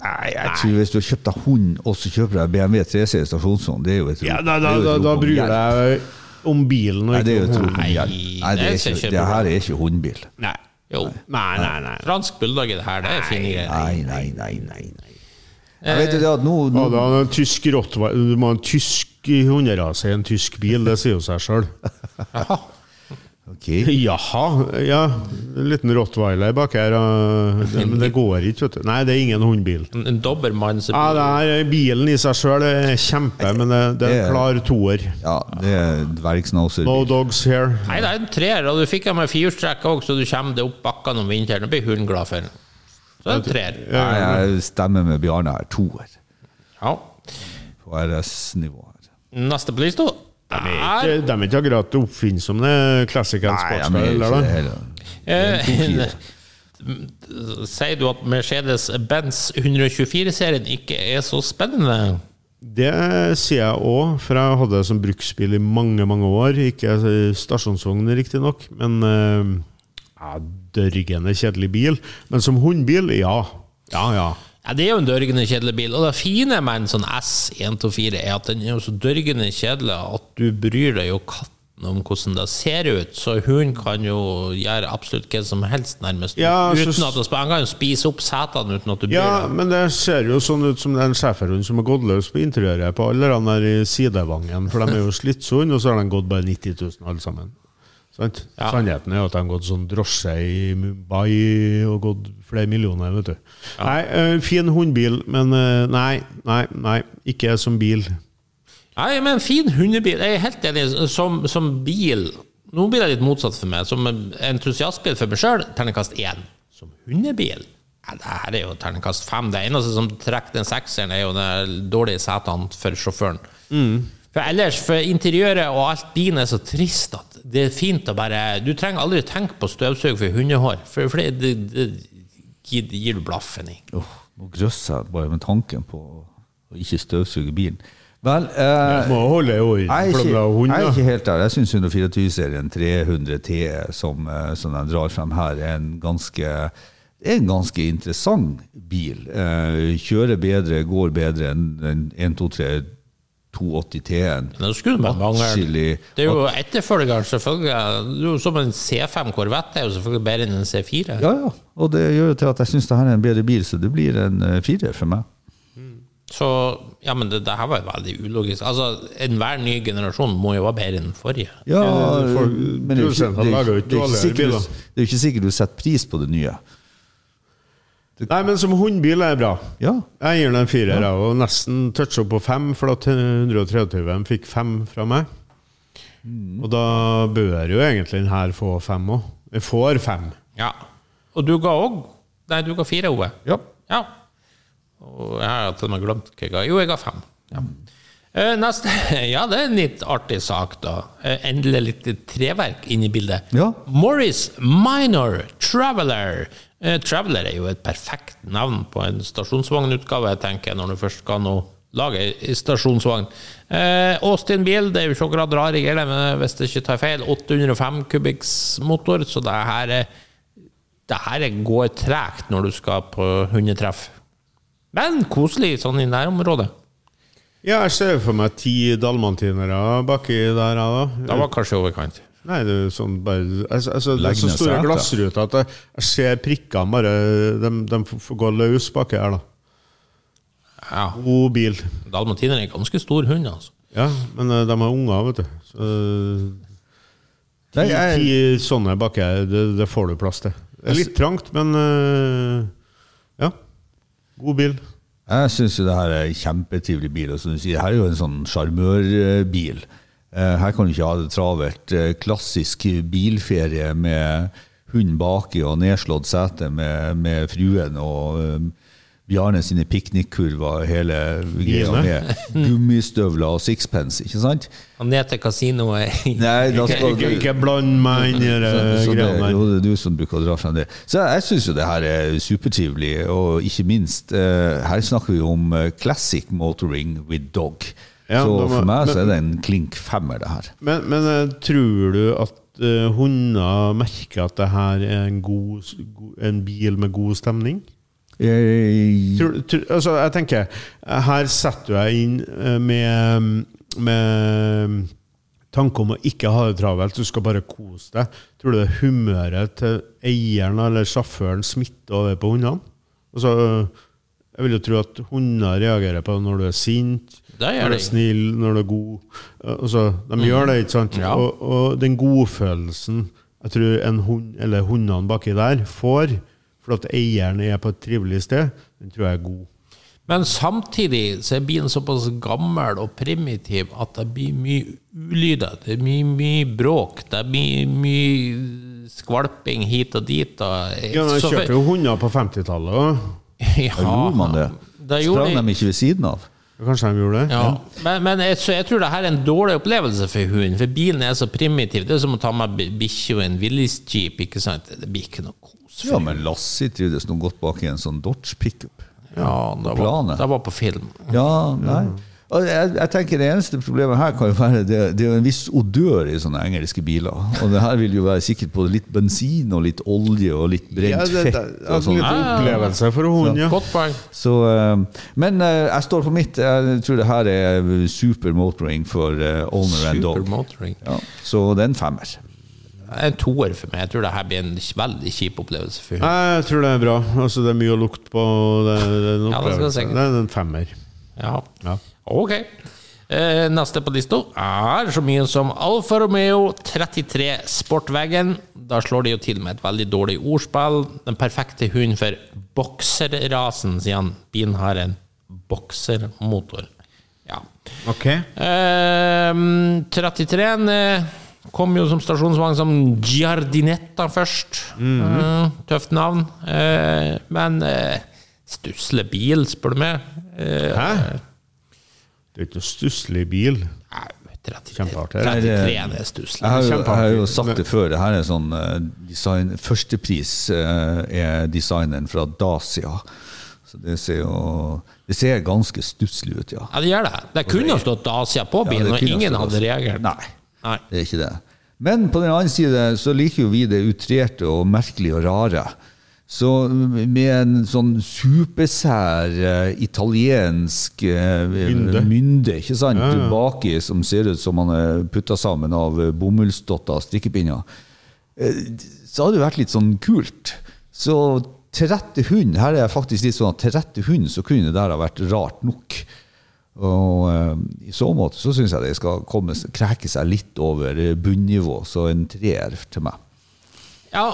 Speaker 3: Nei, jeg tror hvis du har kjøpt deg hund, og så kjøper du deg BMW 3-serie stasjonsvogn, det er jo et rop.
Speaker 4: Ja, da, da,
Speaker 3: Det er jo
Speaker 4: da,
Speaker 3: et
Speaker 4: da
Speaker 3: rop om
Speaker 4: bryr
Speaker 3: hjelp.
Speaker 4: jeg om bilen og
Speaker 3: Nei, det er
Speaker 4: ikke
Speaker 3: jo et
Speaker 4: om
Speaker 3: rop om
Speaker 4: hunden.
Speaker 1: Nei,
Speaker 3: hjelp. Nei, det,
Speaker 1: det
Speaker 3: er
Speaker 1: ser
Speaker 3: ikke,
Speaker 1: ikke
Speaker 3: det
Speaker 1: bra
Speaker 3: her
Speaker 1: ut.
Speaker 3: er ikke hundbil.
Speaker 4: Nei.
Speaker 1: Jo.
Speaker 4: Nei, nei, nei.
Speaker 1: Fransk bulldog i det her, det er fine greier.
Speaker 3: Nei, nei, nei, nei. nei. Jeg vet jo det at nå, nå
Speaker 4: Ja, da, en tysk rottweiler Du må ha en tysk hunderase i en tysk bil, det sier jo seg sjøl.
Speaker 3: Ok.
Speaker 4: Jaha, ja. En liten rottweiler bak her. og- det- Men det går ikke, vet du. Nei, det er ingen hundbil.
Speaker 1: En, en dobbermann som
Speaker 4: Ja, det er bilen i seg sjøl er kjempe, men det, det er en klar toer.
Speaker 3: Ja, det er dvergsnauser.
Speaker 4: No dogs here.
Speaker 1: Nei, det er en treer, og du fikk den med firehjulstrekk òg, så du kommer deg opp bakkene om vinteren. Da blir hunden glad for den. Så det er en treer.
Speaker 3: Nei, jeg stemmer med Bjarne her. Toer
Speaker 1: Ja.
Speaker 3: på RS-nivå her.
Speaker 1: Neste på lista
Speaker 4: De
Speaker 1: er
Speaker 4: er ikke akkurat oppfinnsomme, classicen
Speaker 3: Nei, jeg mener
Speaker 4: sportsbil.
Speaker 3: ikke det
Speaker 4: eller da?
Speaker 3: heller.
Speaker 1: eh, Sier du at Mercedes-Benz 124-serien ikke er så spennende?
Speaker 4: Det sier jeg òg, for jeg hadde det som bruksbil i mange mange år. Ikke altså, stasjonsvogn, riktignok, men eh, ja, dørgende kjedelig bil. Men som hundbil, ja. Ja, ja.
Speaker 1: Ja, Det er jo en dørgende kjedelig bil, og det fine med en sånn S124 er at den er jo så dørgende kjedelig at du bryr deg jo katten om hvordan det ser ut, så hun kan jo gjøre absolutt hva som helst, nærmest.
Speaker 4: Ja,
Speaker 1: uten
Speaker 4: så-
Speaker 1: at du, Han kan jo spise opp setene uten at du bryr
Speaker 4: Ja,
Speaker 1: deg.
Speaker 4: men det ser jo sånn ut som det er en schæferhund som har gått løs på interiøret på alle de der i sidevangen, for de er jo slitsomme, og så har de gått bare 90 000 alle sammen. Sant?
Speaker 1: Ja.
Speaker 4: Sannheten er jo at de har gått sånn drosje i Mumbai og gått flere millioner, vet du. Nei, eh, fin hundbil, men eh, nei, nei, nei, ikke som bil.
Speaker 1: Nei, men en fin hundebil. Jeg er helt enig. Som, som bil Nå blir det litt motsatt for meg. Som en entusiastbil for meg sjøl, terningkast én. Som hundebil ja, det her er jo terningkast fem. Det eneste som trekker den sekseren, er jo de dårlige setene for sjåføren. For ellers, for interiøret og alt din er så trist at det er fint å bare Du trenger aldri tenke på støvsug for hundehår, for, for det, det, det gir du blaffen i.
Speaker 3: Åh, nå grøsser jeg bare med tanken på å ikke støvsuge bilen. Vel, eh,
Speaker 4: Må holde i orden,
Speaker 3: jeg, er
Speaker 4: for de
Speaker 3: ikke,
Speaker 4: har hund,
Speaker 3: jeg er
Speaker 4: da.
Speaker 3: ikke helt der. Jeg syns 124-serien 300 T som, eh, som de drar frem her, er en ganske det er en ganske interessant bil. Eh, kjører bedre, går bedre enn den 123 280 T-en.
Speaker 1: Men det skulle man mange
Speaker 3: Atskillig.
Speaker 1: Det er jo etterfølgeren, selvfølgelig. Det er jo som en C5 Corvette er jo selvfølgelig bedre enn en C4.
Speaker 3: Ja, ja. Og det gjør jo til at jeg syns det her er en bedre bil, så det blir en eh, firer for meg.
Speaker 1: Så ja, men det, det her var jo veldig ulogisk. Altså, Enhver ny generasjon må jo være bedre enn den forrige.
Speaker 3: Ja, eh,
Speaker 4: Ja, Eh, folk-
Speaker 3: men det er jo ikke,
Speaker 4: produsentene
Speaker 3: det er
Speaker 4: lager jo
Speaker 3: jo
Speaker 4: ikke
Speaker 3: ikke, det er ikke
Speaker 4: dårligere
Speaker 3: sikkert
Speaker 4: biler.
Speaker 3: du, det er jo ikke sikkert du setter pris på det nye.
Speaker 4: Nei, men som hundbil er det bra.
Speaker 3: Ja.
Speaker 4: Jeg gir den en firer, jeg, og nesten toucha på fem, for at 123 fikk fem fra meg. Og da bør jo egentlig den her få fem òg. Jeg får fem.
Speaker 1: Ja. Og du ga òg Nei, du ga fire, Ove.
Speaker 3: Ja.
Speaker 1: Ja. Og jeg har til og med glemt hva jeg ga. Jo, jeg ga fem. Ja. Eh, Neste. <laughs> Ja, det er en litt artig sak, da. Eh, Endelig litt treverk inn i bildet.
Speaker 3: Ja.
Speaker 1: Morris Minor Traveler. Eh, Traveler er jo et perfekt navn på en stasjonsvognutgave, tenker jeg, når du først skal nå lage ei- ei stasjonsvogn. Eh, Austin bil, det er jo ikke akkurat rare greier, men hvis jeg ikke tar feil, 805 kubikks motor, så det her, er- det her går tregt når du skal på hundetreff. Men koselig sånn i nærområdet.
Speaker 4: Ja, jeg ser for meg ti dalmantinere baki der, jeg,
Speaker 1: Det
Speaker 4: da.
Speaker 1: var kanskje i overkant.
Speaker 4: Nei, det er jo sånn bare altså, altså, Det er
Speaker 3: Legg
Speaker 4: så
Speaker 3: ned
Speaker 4: store
Speaker 3: setet.
Speaker 4: glassruter at jeg, jeg ser prikkene bare De, de f- f- går løs baki her, da.
Speaker 1: Ja.
Speaker 4: God bil.
Speaker 1: Dalmatiner er en ganske stor hund, altså.
Speaker 4: Ja, men eh, de har unger, vet du. Så, ti,
Speaker 3: Nei, jeg-
Speaker 4: ti sånne baki her, det, det får du plass til. Det er litt trangt, men eh, Ja. God bil.
Speaker 3: Jeg syns jo det her er en kjempetrivelig bil. Og som du sier, her er jo en sånn sjarmørbil. Eh, Her kan du ikke ha det travelt. Eh, Klassisk bilferie med hund baki og nedslått sete med, med fruen og eh, Bjarne sine piknikkurver, hele greia
Speaker 4: Biene.
Speaker 3: med
Speaker 4: <laughs>
Speaker 3: gummistøvler og sixpence, ikke sant?
Speaker 1: Han ned til kasinoet i
Speaker 3: Nei, da skal
Speaker 4: Ikke, ikke bland meg inn i de
Speaker 3: Så- så
Speaker 4: Eh, greiene
Speaker 3: det-
Speaker 4: der.
Speaker 3: Jo, det er du som bruker å dra frem det. Så jeg, jeg syns jo det her er supertrivelig, og ikke minst eh, Her snakker vi om eh, classic motoring with dog.
Speaker 4: Ja,
Speaker 3: så
Speaker 4: da må-
Speaker 3: for meg så er
Speaker 4: men-
Speaker 3: det en klink femmer, det her.
Speaker 4: Men, men eh, tror du at eh, hunder merker at det her er en, god, s- go- en bil med god stemning?
Speaker 3: Eh,
Speaker 4: Tror, tror, altså, jeg tenker, eh, her setter du deg inn eh, med, med tanke om å ikke ha det travelt, du skal bare kose deg. Tror du det humøret til eieren eller sjåføren smitter over på hundene? Altså, jeg vil jo tro at hunder reagerer på når du er sint,
Speaker 1: Det gjør
Speaker 4: når
Speaker 1: de.
Speaker 4: du er snill, når du er god. Eh, Altså, de gjør det, ikke sant?
Speaker 1: Ja.
Speaker 4: Og, og den godfølelsen jeg tror en hund, eller hundene baki der, får for at eieren er på et trivelig sted, den tror jeg er god.
Speaker 1: Men samtidig så er bilen såpass gammel og primitiv at det blir mye ulyder. Det blir mye bråk. Det blir mye skvalping hit og dit. Og
Speaker 4: Ja, men jeg
Speaker 1: så-
Speaker 4: kjørte jo hunder på 50-tallet òg.
Speaker 1: <laughs> Ja,
Speaker 3: Gjorde man det?
Speaker 1: Det gjorde
Speaker 3: Sprang
Speaker 1: de.
Speaker 3: de ikke ved siden av?
Speaker 4: Kanskje de gjorde det?
Speaker 1: Ja. Men, men jeg, så jeg tror det her er en dårlig opplevelse for hunden, for bilen er så primitiv. Det er som å ta med bi- bikkje og en Willys-jeep, ikke sant? Det blir ikke noe kos.
Speaker 3: Ja, men Lassie trivdes nå godt bak i en sånn Dodge pickup.
Speaker 1: Ja, det var,
Speaker 3: Planet.
Speaker 1: det var på film.
Speaker 3: Ja, nei.
Speaker 4: Mm.
Speaker 3: Og Jeg, jeg tenker Det eneste problemet her kan jo være det, det er jo en viss odør i sånne engelske biler. Og det her vil jo være sikkert både litt bensin og litt olje og litt brent
Speaker 4: Ja, det, det,
Speaker 3: fett.
Speaker 4: er
Speaker 3: og sånn.
Speaker 4: litt opplevelse for hund, ja.
Speaker 1: Godt poeng.
Speaker 3: Så, eh, men eh, jeg står på mitt. Jeg tror det her er super motoring for eh, owner and dog.
Speaker 1: Supermotoring.
Speaker 3: Ja, så det er en femmer.
Speaker 1: En toer for meg. Jeg tror det her blir en veldig kjip opplevelse for hunden.
Speaker 4: Nei, Jeg tror det er bra. Altså, det er mye å lukte på. og Det, det er
Speaker 1: Ja, det
Speaker 4: en
Speaker 1: skal
Speaker 4: opplevelse.
Speaker 1: jeg sikkert.
Speaker 4: det er en femmer.
Speaker 1: Ja.
Speaker 4: Ja.
Speaker 1: Ok. Eh, neste på lista er så mye som Alfa Romeo 33 Sportveggen. Da slår de jo til med et veldig dårlig ordspill. Den perfekte hunden for bokserrasen, sier han. Bilen har en boksermotor. Ja.
Speaker 4: Ok.
Speaker 1: Eh, 33-en eh, kom jo som stasjonsvogn som Giardinetta først. Eh, tøft navn. Eh, men eh, stusslig bil, spør du meg. Eh,
Speaker 4: Hæ? Det er ikke noe stusslig bil.
Speaker 1: Nei, 33,
Speaker 4: Kjempeartig.
Speaker 1: 33 er
Speaker 3: Jeg
Speaker 1: stusslig.
Speaker 3: har, jo, jeg har jo
Speaker 4: Kjempeartig.
Speaker 3: sagt det før. Det her er sånn eh, design, Førstepris eh, er designeren fra Dacia. Så det ser jo Det ser ganske stusslig ut, ja.
Speaker 1: Ja, det gjør det. Det kunne ha stått Asia på
Speaker 3: Ja,
Speaker 1: bilen,
Speaker 3: det
Speaker 1: og
Speaker 3: kunne
Speaker 1: ingen
Speaker 3: stått
Speaker 1: hadde
Speaker 3: Asia.
Speaker 1: reagert.
Speaker 3: Nei.
Speaker 1: Nei.
Speaker 3: Det er ikke det. Men på den annen side så liker jo vi det utrerte og merkelige og rare. Så med en sånn supersær eh, italiensk eh,
Speaker 4: Mynde.
Speaker 3: mynde ikke sant, baki som ser ut som han er putta sammen av eh, bomullsdotter og strikkepinner, eh, så hadde det vært litt sånn kult. Så til rette hund, her er jeg faktisk litt sånn at til rette hund så kunne det der ha vært rart nok. Og eh, i så måte så syns jeg det skal komme, kreke seg litt over eh, bunnivå, så en treer til meg.
Speaker 1: Ja,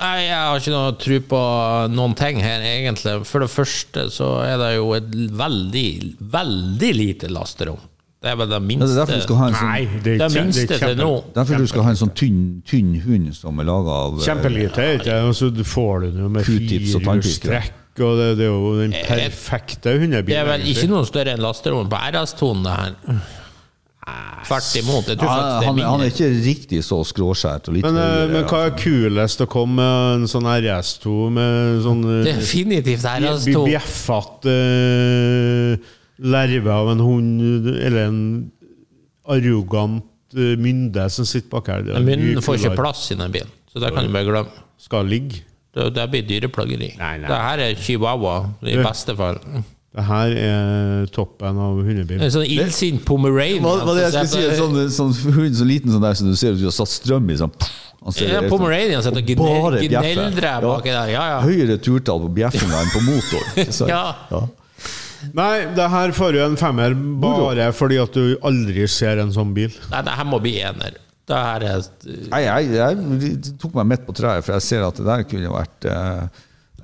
Speaker 1: nei, jeg har ikke noe tro på noen ting her, egentlig. For det første så er det jo et veldig, veldig lite lasterom. Det er vel det
Speaker 3: Men
Speaker 1: minste.
Speaker 3: det er derfor du skal ha en sånn,
Speaker 4: det
Speaker 1: Altså, det
Speaker 4: kjem-
Speaker 1: minste
Speaker 4: det er
Speaker 1: til nå.
Speaker 4: kjempe-
Speaker 3: derfor du skal ha en sånn tynn, tynn hund som er laga av eh,
Speaker 4: Kjempelite. Ikke? Altså, du får du den jo med
Speaker 3: Q-tips og
Speaker 4: fire
Speaker 3: tannpirker.
Speaker 4: strekk og det, det er jo den
Speaker 1: Jeg-
Speaker 4: perfekte hundebilen.
Speaker 1: Eh, Det er vel
Speaker 4: egentlig.
Speaker 1: ikke noe større enn lasterommet på RS-tonen, det her. Tvert imot. Jeg tror faktisk det er
Speaker 3: Ja, han, han er
Speaker 1: mindre.
Speaker 3: ikke riktig så skråskjært. Og litt
Speaker 4: men, eh,
Speaker 3: høyere,
Speaker 4: men hva er kulest å komme med? En sånn RS2 med sånn eh,
Speaker 1: Definitivt
Speaker 4: bje-
Speaker 1: RS2.
Speaker 4: bjeffete eh, lerve av en hund, eller en arrogant eh, mynde som sitter bak her. Det er mye
Speaker 1: Munnen får ikke
Speaker 4: kulere.
Speaker 1: plass i den bilen, så det kan du bare glemme.
Speaker 4: Skal ligge.
Speaker 1: Det, det blir dyreplageri.
Speaker 4: Nei, nei.
Speaker 1: Det her er chihuahua, i
Speaker 4: Du.
Speaker 1: beste fall.
Speaker 4: Det her er toppen av hundebil.
Speaker 1: En sånn illsint pomeranian. Altså,
Speaker 3: Hva, hva det jeg
Speaker 1: som
Speaker 3: skulle si? En
Speaker 1: sitter-
Speaker 3: sånn, sånn hund så liten som der som du ser ut som du har satt strøm i. Sånn, Han ser
Speaker 1: Ja,
Speaker 3: helt sånn-
Speaker 1: pomeranian sitter og
Speaker 3: Bare
Speaker 1: gnel-
Speaker 3: bjeffer.
Speaker 1: gneldrer
Speaker 3: Ja.
Speaker 1: baki der. Ja, ja.
Speaker 3: Høyere turtall på bjeffinga enn
Speaker 1: <laughs>
Speaker 3: på motor. Så-
Speaker 1: Ja.
Speaker 4: Nei, det her får jo en femmer bare fordi at du aldri ser en sånn bil.
Speaker 1: Nei, det her må bli ener. Det her er
Speaker 3: Nei, jeg, jeg tok meg midt på treet, for jeg ser at det der kunne vært eh,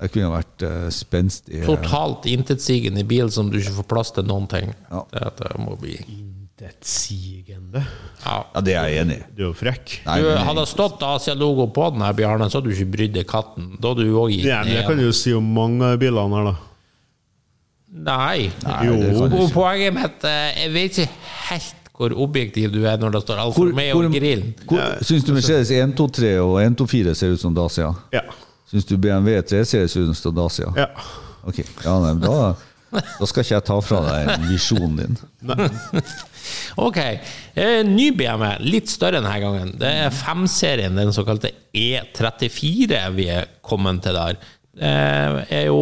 Speaker 3: Det kunne vært eh, spenstig. eh,
Speaker 1: totalt intetsigende bil som du ikke får plass til noen ting.
Speaker 3: Ja.
Speaker 1: Det, det må bli
Speaker 4: Intetsigende.
Speaker 1: ja.
Speaker 3: Ja, det er jeg enig i.
Speaker 4: Du er jo frekk.
Speaker 3: Nei,
Speaker 1: Du,
Speaker 3: men-
Speaker 1: hadde det stått Asia-logo på den her, Bjarne, så hadde du ikke brydd deg katten. Da hadde du òg gitt
Speaker 4: Ja, men jeg kan
Speaker 1: ned.
Speaker 4: jo si om mange av bilene her, da.
Speaker 1: Nei.
Speaker 3: Nei, det kan jeg
Speaker 1: Og
Speaker 3: ikke.
Speaker 1: poenget mitt eh, Jeg vet ikke helt hvor objektiv du er når det står Alfa
Speaker 3: Hvor-
Speaker 1: Romeo
Speaker 3: hvor-
Speaker 1: og grillen.
Speaker 3: hvor- Syns du Mercedes 123 og 124 ser ut som Dacia?
Speaker 4: Ja.
Speaker 3: Syns du BMW 3-serie ser ut som Dacia?
Speaker 4: ja.
Speaker 3: Ok, ja, nei, men da, da skal ikke jeg ta fra deg visjonen din.
Speaker 1: Ok. Eh, ny BMW, litt større denne gangen. Det er 5-serien, den såkalte E34 vi er kommet til der. Eh, er jo,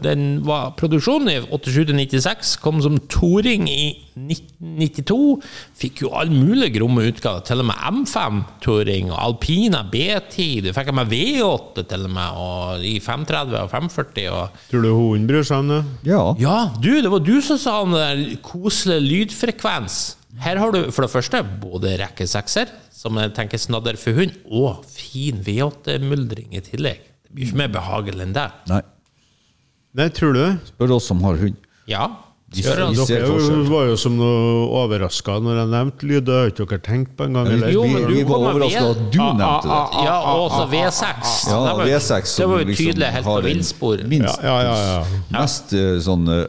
Speaker 1: den var produksjonen i 87-96, kom som toring i 1992. Fikk jo all mulig gromme utgaver, til og med M5-toring, Alpina B10, du fikk med V8 til og med, og i 530 og 540. og
Speaker 4: Tror du hunden bryr seg om det?
Speaker 3: Ja.
Speaker 1: ja, du, det var du som sa om den der koselige lydfrekvens. Her har du for det første både rekke sekser, som jeg tenker snadder for hund, og fin V8-muldring i tillegg. Det blir ikke mer behagelig enn det.
Speaker 3: Nei.
Speaker 4: Nei, tror du? det?
Speaker 3: Spør oss som har hund.
Speaker 1: Ja.
Speaker 3: De-
Speaker 1: Gjør han
Speaker 3: de
Speaker 1: så-
Speaker 3: ser-
Speaker 4: Dere jo-
Speaker 3: forskjell.
Speaker 4: var jo som noe overraska når jeg nevnte lyd. Det har ikke dere tenkt på engang. eller?
Speaker 1: Jo,
Speaker 3: vi,
Speaker 1: men du
Speaker 3: vi var
Speaker 1: kommer
Speaker 3: overraska
Speaker 1: med-
Speaker 3: at du nevnte det.
Speaker 1: Ja, og også V6.
Speaker 3: Ja,
Speaker 1: det var, jo-
Speaker 3: V6
Speaker 1: det
Speaker 3: som
Speaker 1: var jo
Speaker 3: liksom
Speaker 1: tydelig helt
Speaker 3: har
Speaker 1: på
Speaker 3: en
Speaker 1: villspor.
Speaker 4: Ja,
Speaker 3: Minst
Speaker 4: ja, ja. ja.
Speaker 3: mest eh, sånn eh,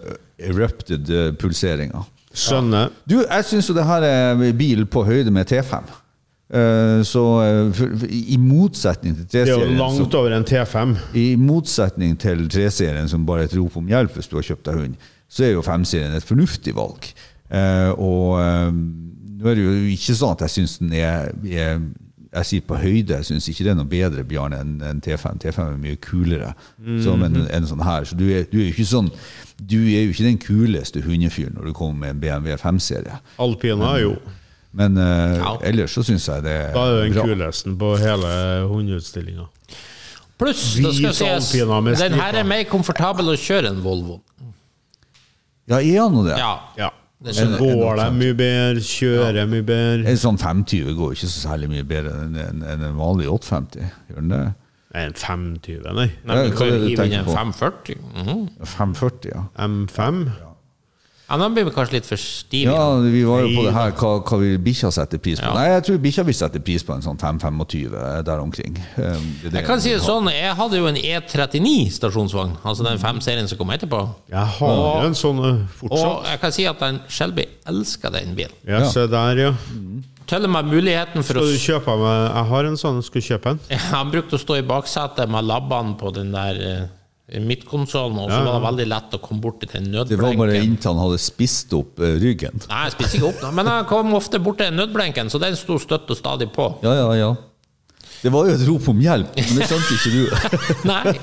Speaker 3: erupted eh, pulseringer.
Speaker 4: Skjønner.
Speaker 3: Du, jeg syns jo det her er bil på høyde med T5. Eh, Så eh, for- for- i motsetning til
Speaker 4: Det er jo
Speaker 3: T-serien
Speaker 4: langt
Speaker 3: så-
Speaker 4: over en T5.
Speaker 3: I motsetning til 3-serien, som bare er et rop om hjelp hvis du har kjøpt deg hund, så er jo 5-serien et fornuftig valg. Eh, og eh, nå er det jo ikke sånn at jeg syns den er, er Jeg sier på høyde, jeg syns ikke det er noe bedre, Bjarne, enn enn T5. T5 er mye kulere som en, en sånn her. Så du er, du er jo ikke sånn Du er jo ikke den kuleste hundefyren når du kommer med en BMW 5-serie.
Speaker 4: Alpina er jo
Speaker 3: Men eh,
Speaker 1: Ja.
Speaker 3: ellers så syns jeg det er
Speaker 4: Da er det den
Speaker 3: bra.
Speaker 4: kuleste på hele hundeutstillinga.
Speaker 1: Pluss, det skal
Speaker 4: Vis
Speaker 1: sies,
Speaker 4: alpina med
Speaker 1: den her
Speaker 4: stripa.
Speaker 1: er mer komfortabel å kjøre enn Volvo.
Speaker 3: Ja, er han nå det?
Speaker 1: Ja.
Speaker 4: Ja.
Speaker 1: Det
Speaker 4: Så
Speaker 1: skjønner jeg.
Speaker 4: går de mye bedre, kjører mye bedre.
Speaker 3: En sånn 520 går jo ikke så særlig mye bedre enn en, enn en vanlig 850. Gjør den det?
Speaker 4: Nei, en 520, nei.
Speaker 1: Nei, men
Speaker 3: Ja,
Speaker 1: du
Speaker 3: hva
Speaker 1: kan
Speaker 3: er
Speaker 1: jo
Speaker 3: det du
Speaker 1: hive inn en
Speaker 3: tenker på?
Speaker 1: 540. Mhm.
Speaker 3: 540, ja.
Speaker 4: M5?
Speaker 1: Ja, den blir vi kanskje litt for stiv.
Speaker 3: Ja, vi var jo på det her hva, hva vil bikkja sette pris på.
Speaker 1: Ja.
Speaker 3: Nei, jeg tror bikkja vil sette pris på en sånn 525 der omkring. Um, det er det
Speaker 1: Jeg kan si
Speaker 3: vil
Speaker 1: det
Speaker 3: ha.
Speaker 1: sånn, jeg hadde jo en E39 stasjonsvogn, altså den fem-serien som kom etterpå.
Speaker 4: Jeg har jo en sånn eh,
Speaker 1: Og
Speaker 4: fortsatt.
Speaker 1: jeg kan si at den Shelby elsker den bilen.
Speaker 4: Ja, se der, ja.
Speaker 1: Til og med muligheten for å <laughs>
Speaker 4: Skal du kjøpe meg Jeg har en sånn, skal du kjøpe en?
Speaker 1: Han brukte å stå i baksetet med labbene på den der eh, midtkonsollen, og så var det veldig lett å komme bort til den
Speaker 3: Det var bare
Speaker 1: nødblenken.
Speaker 3: inntil han hadde spist opp eh, ryggen.
Speaker 1: Nei, jeg spiser ikke opp, men han kom ofte bort til nødblenken, så den sto støtt og stadig på.
Speaker 3: <laughs> Ja, ja, ja. Det var jo et rop om hjelp, men det skjønte
Speaker 1: <laughs>
Speaker 3: ikke du.
Speaker 1: Nei.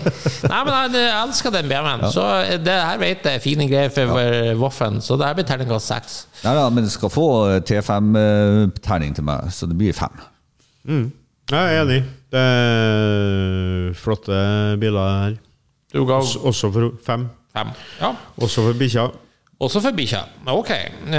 Speaker 1: Nei, men jeg jeg elsker den BMW-en. Så eh, det her vet jeg er fine greier for eh, Voffen, så det her blir terningkast seks.
Speaker 3: Nei da, men det skal få eh, T5-terning eh, til meg, så det blir fem.
Speaker 4: Jeg er enig. Det er flotte biler her.
Speaker 1: Du ga
Speaker 4: Også- Også for fem.
Speaker 1: fem. Ja.
Speaker 4: Også for bikkja.
Speaker 1: Også for bikkja. Ok, eh,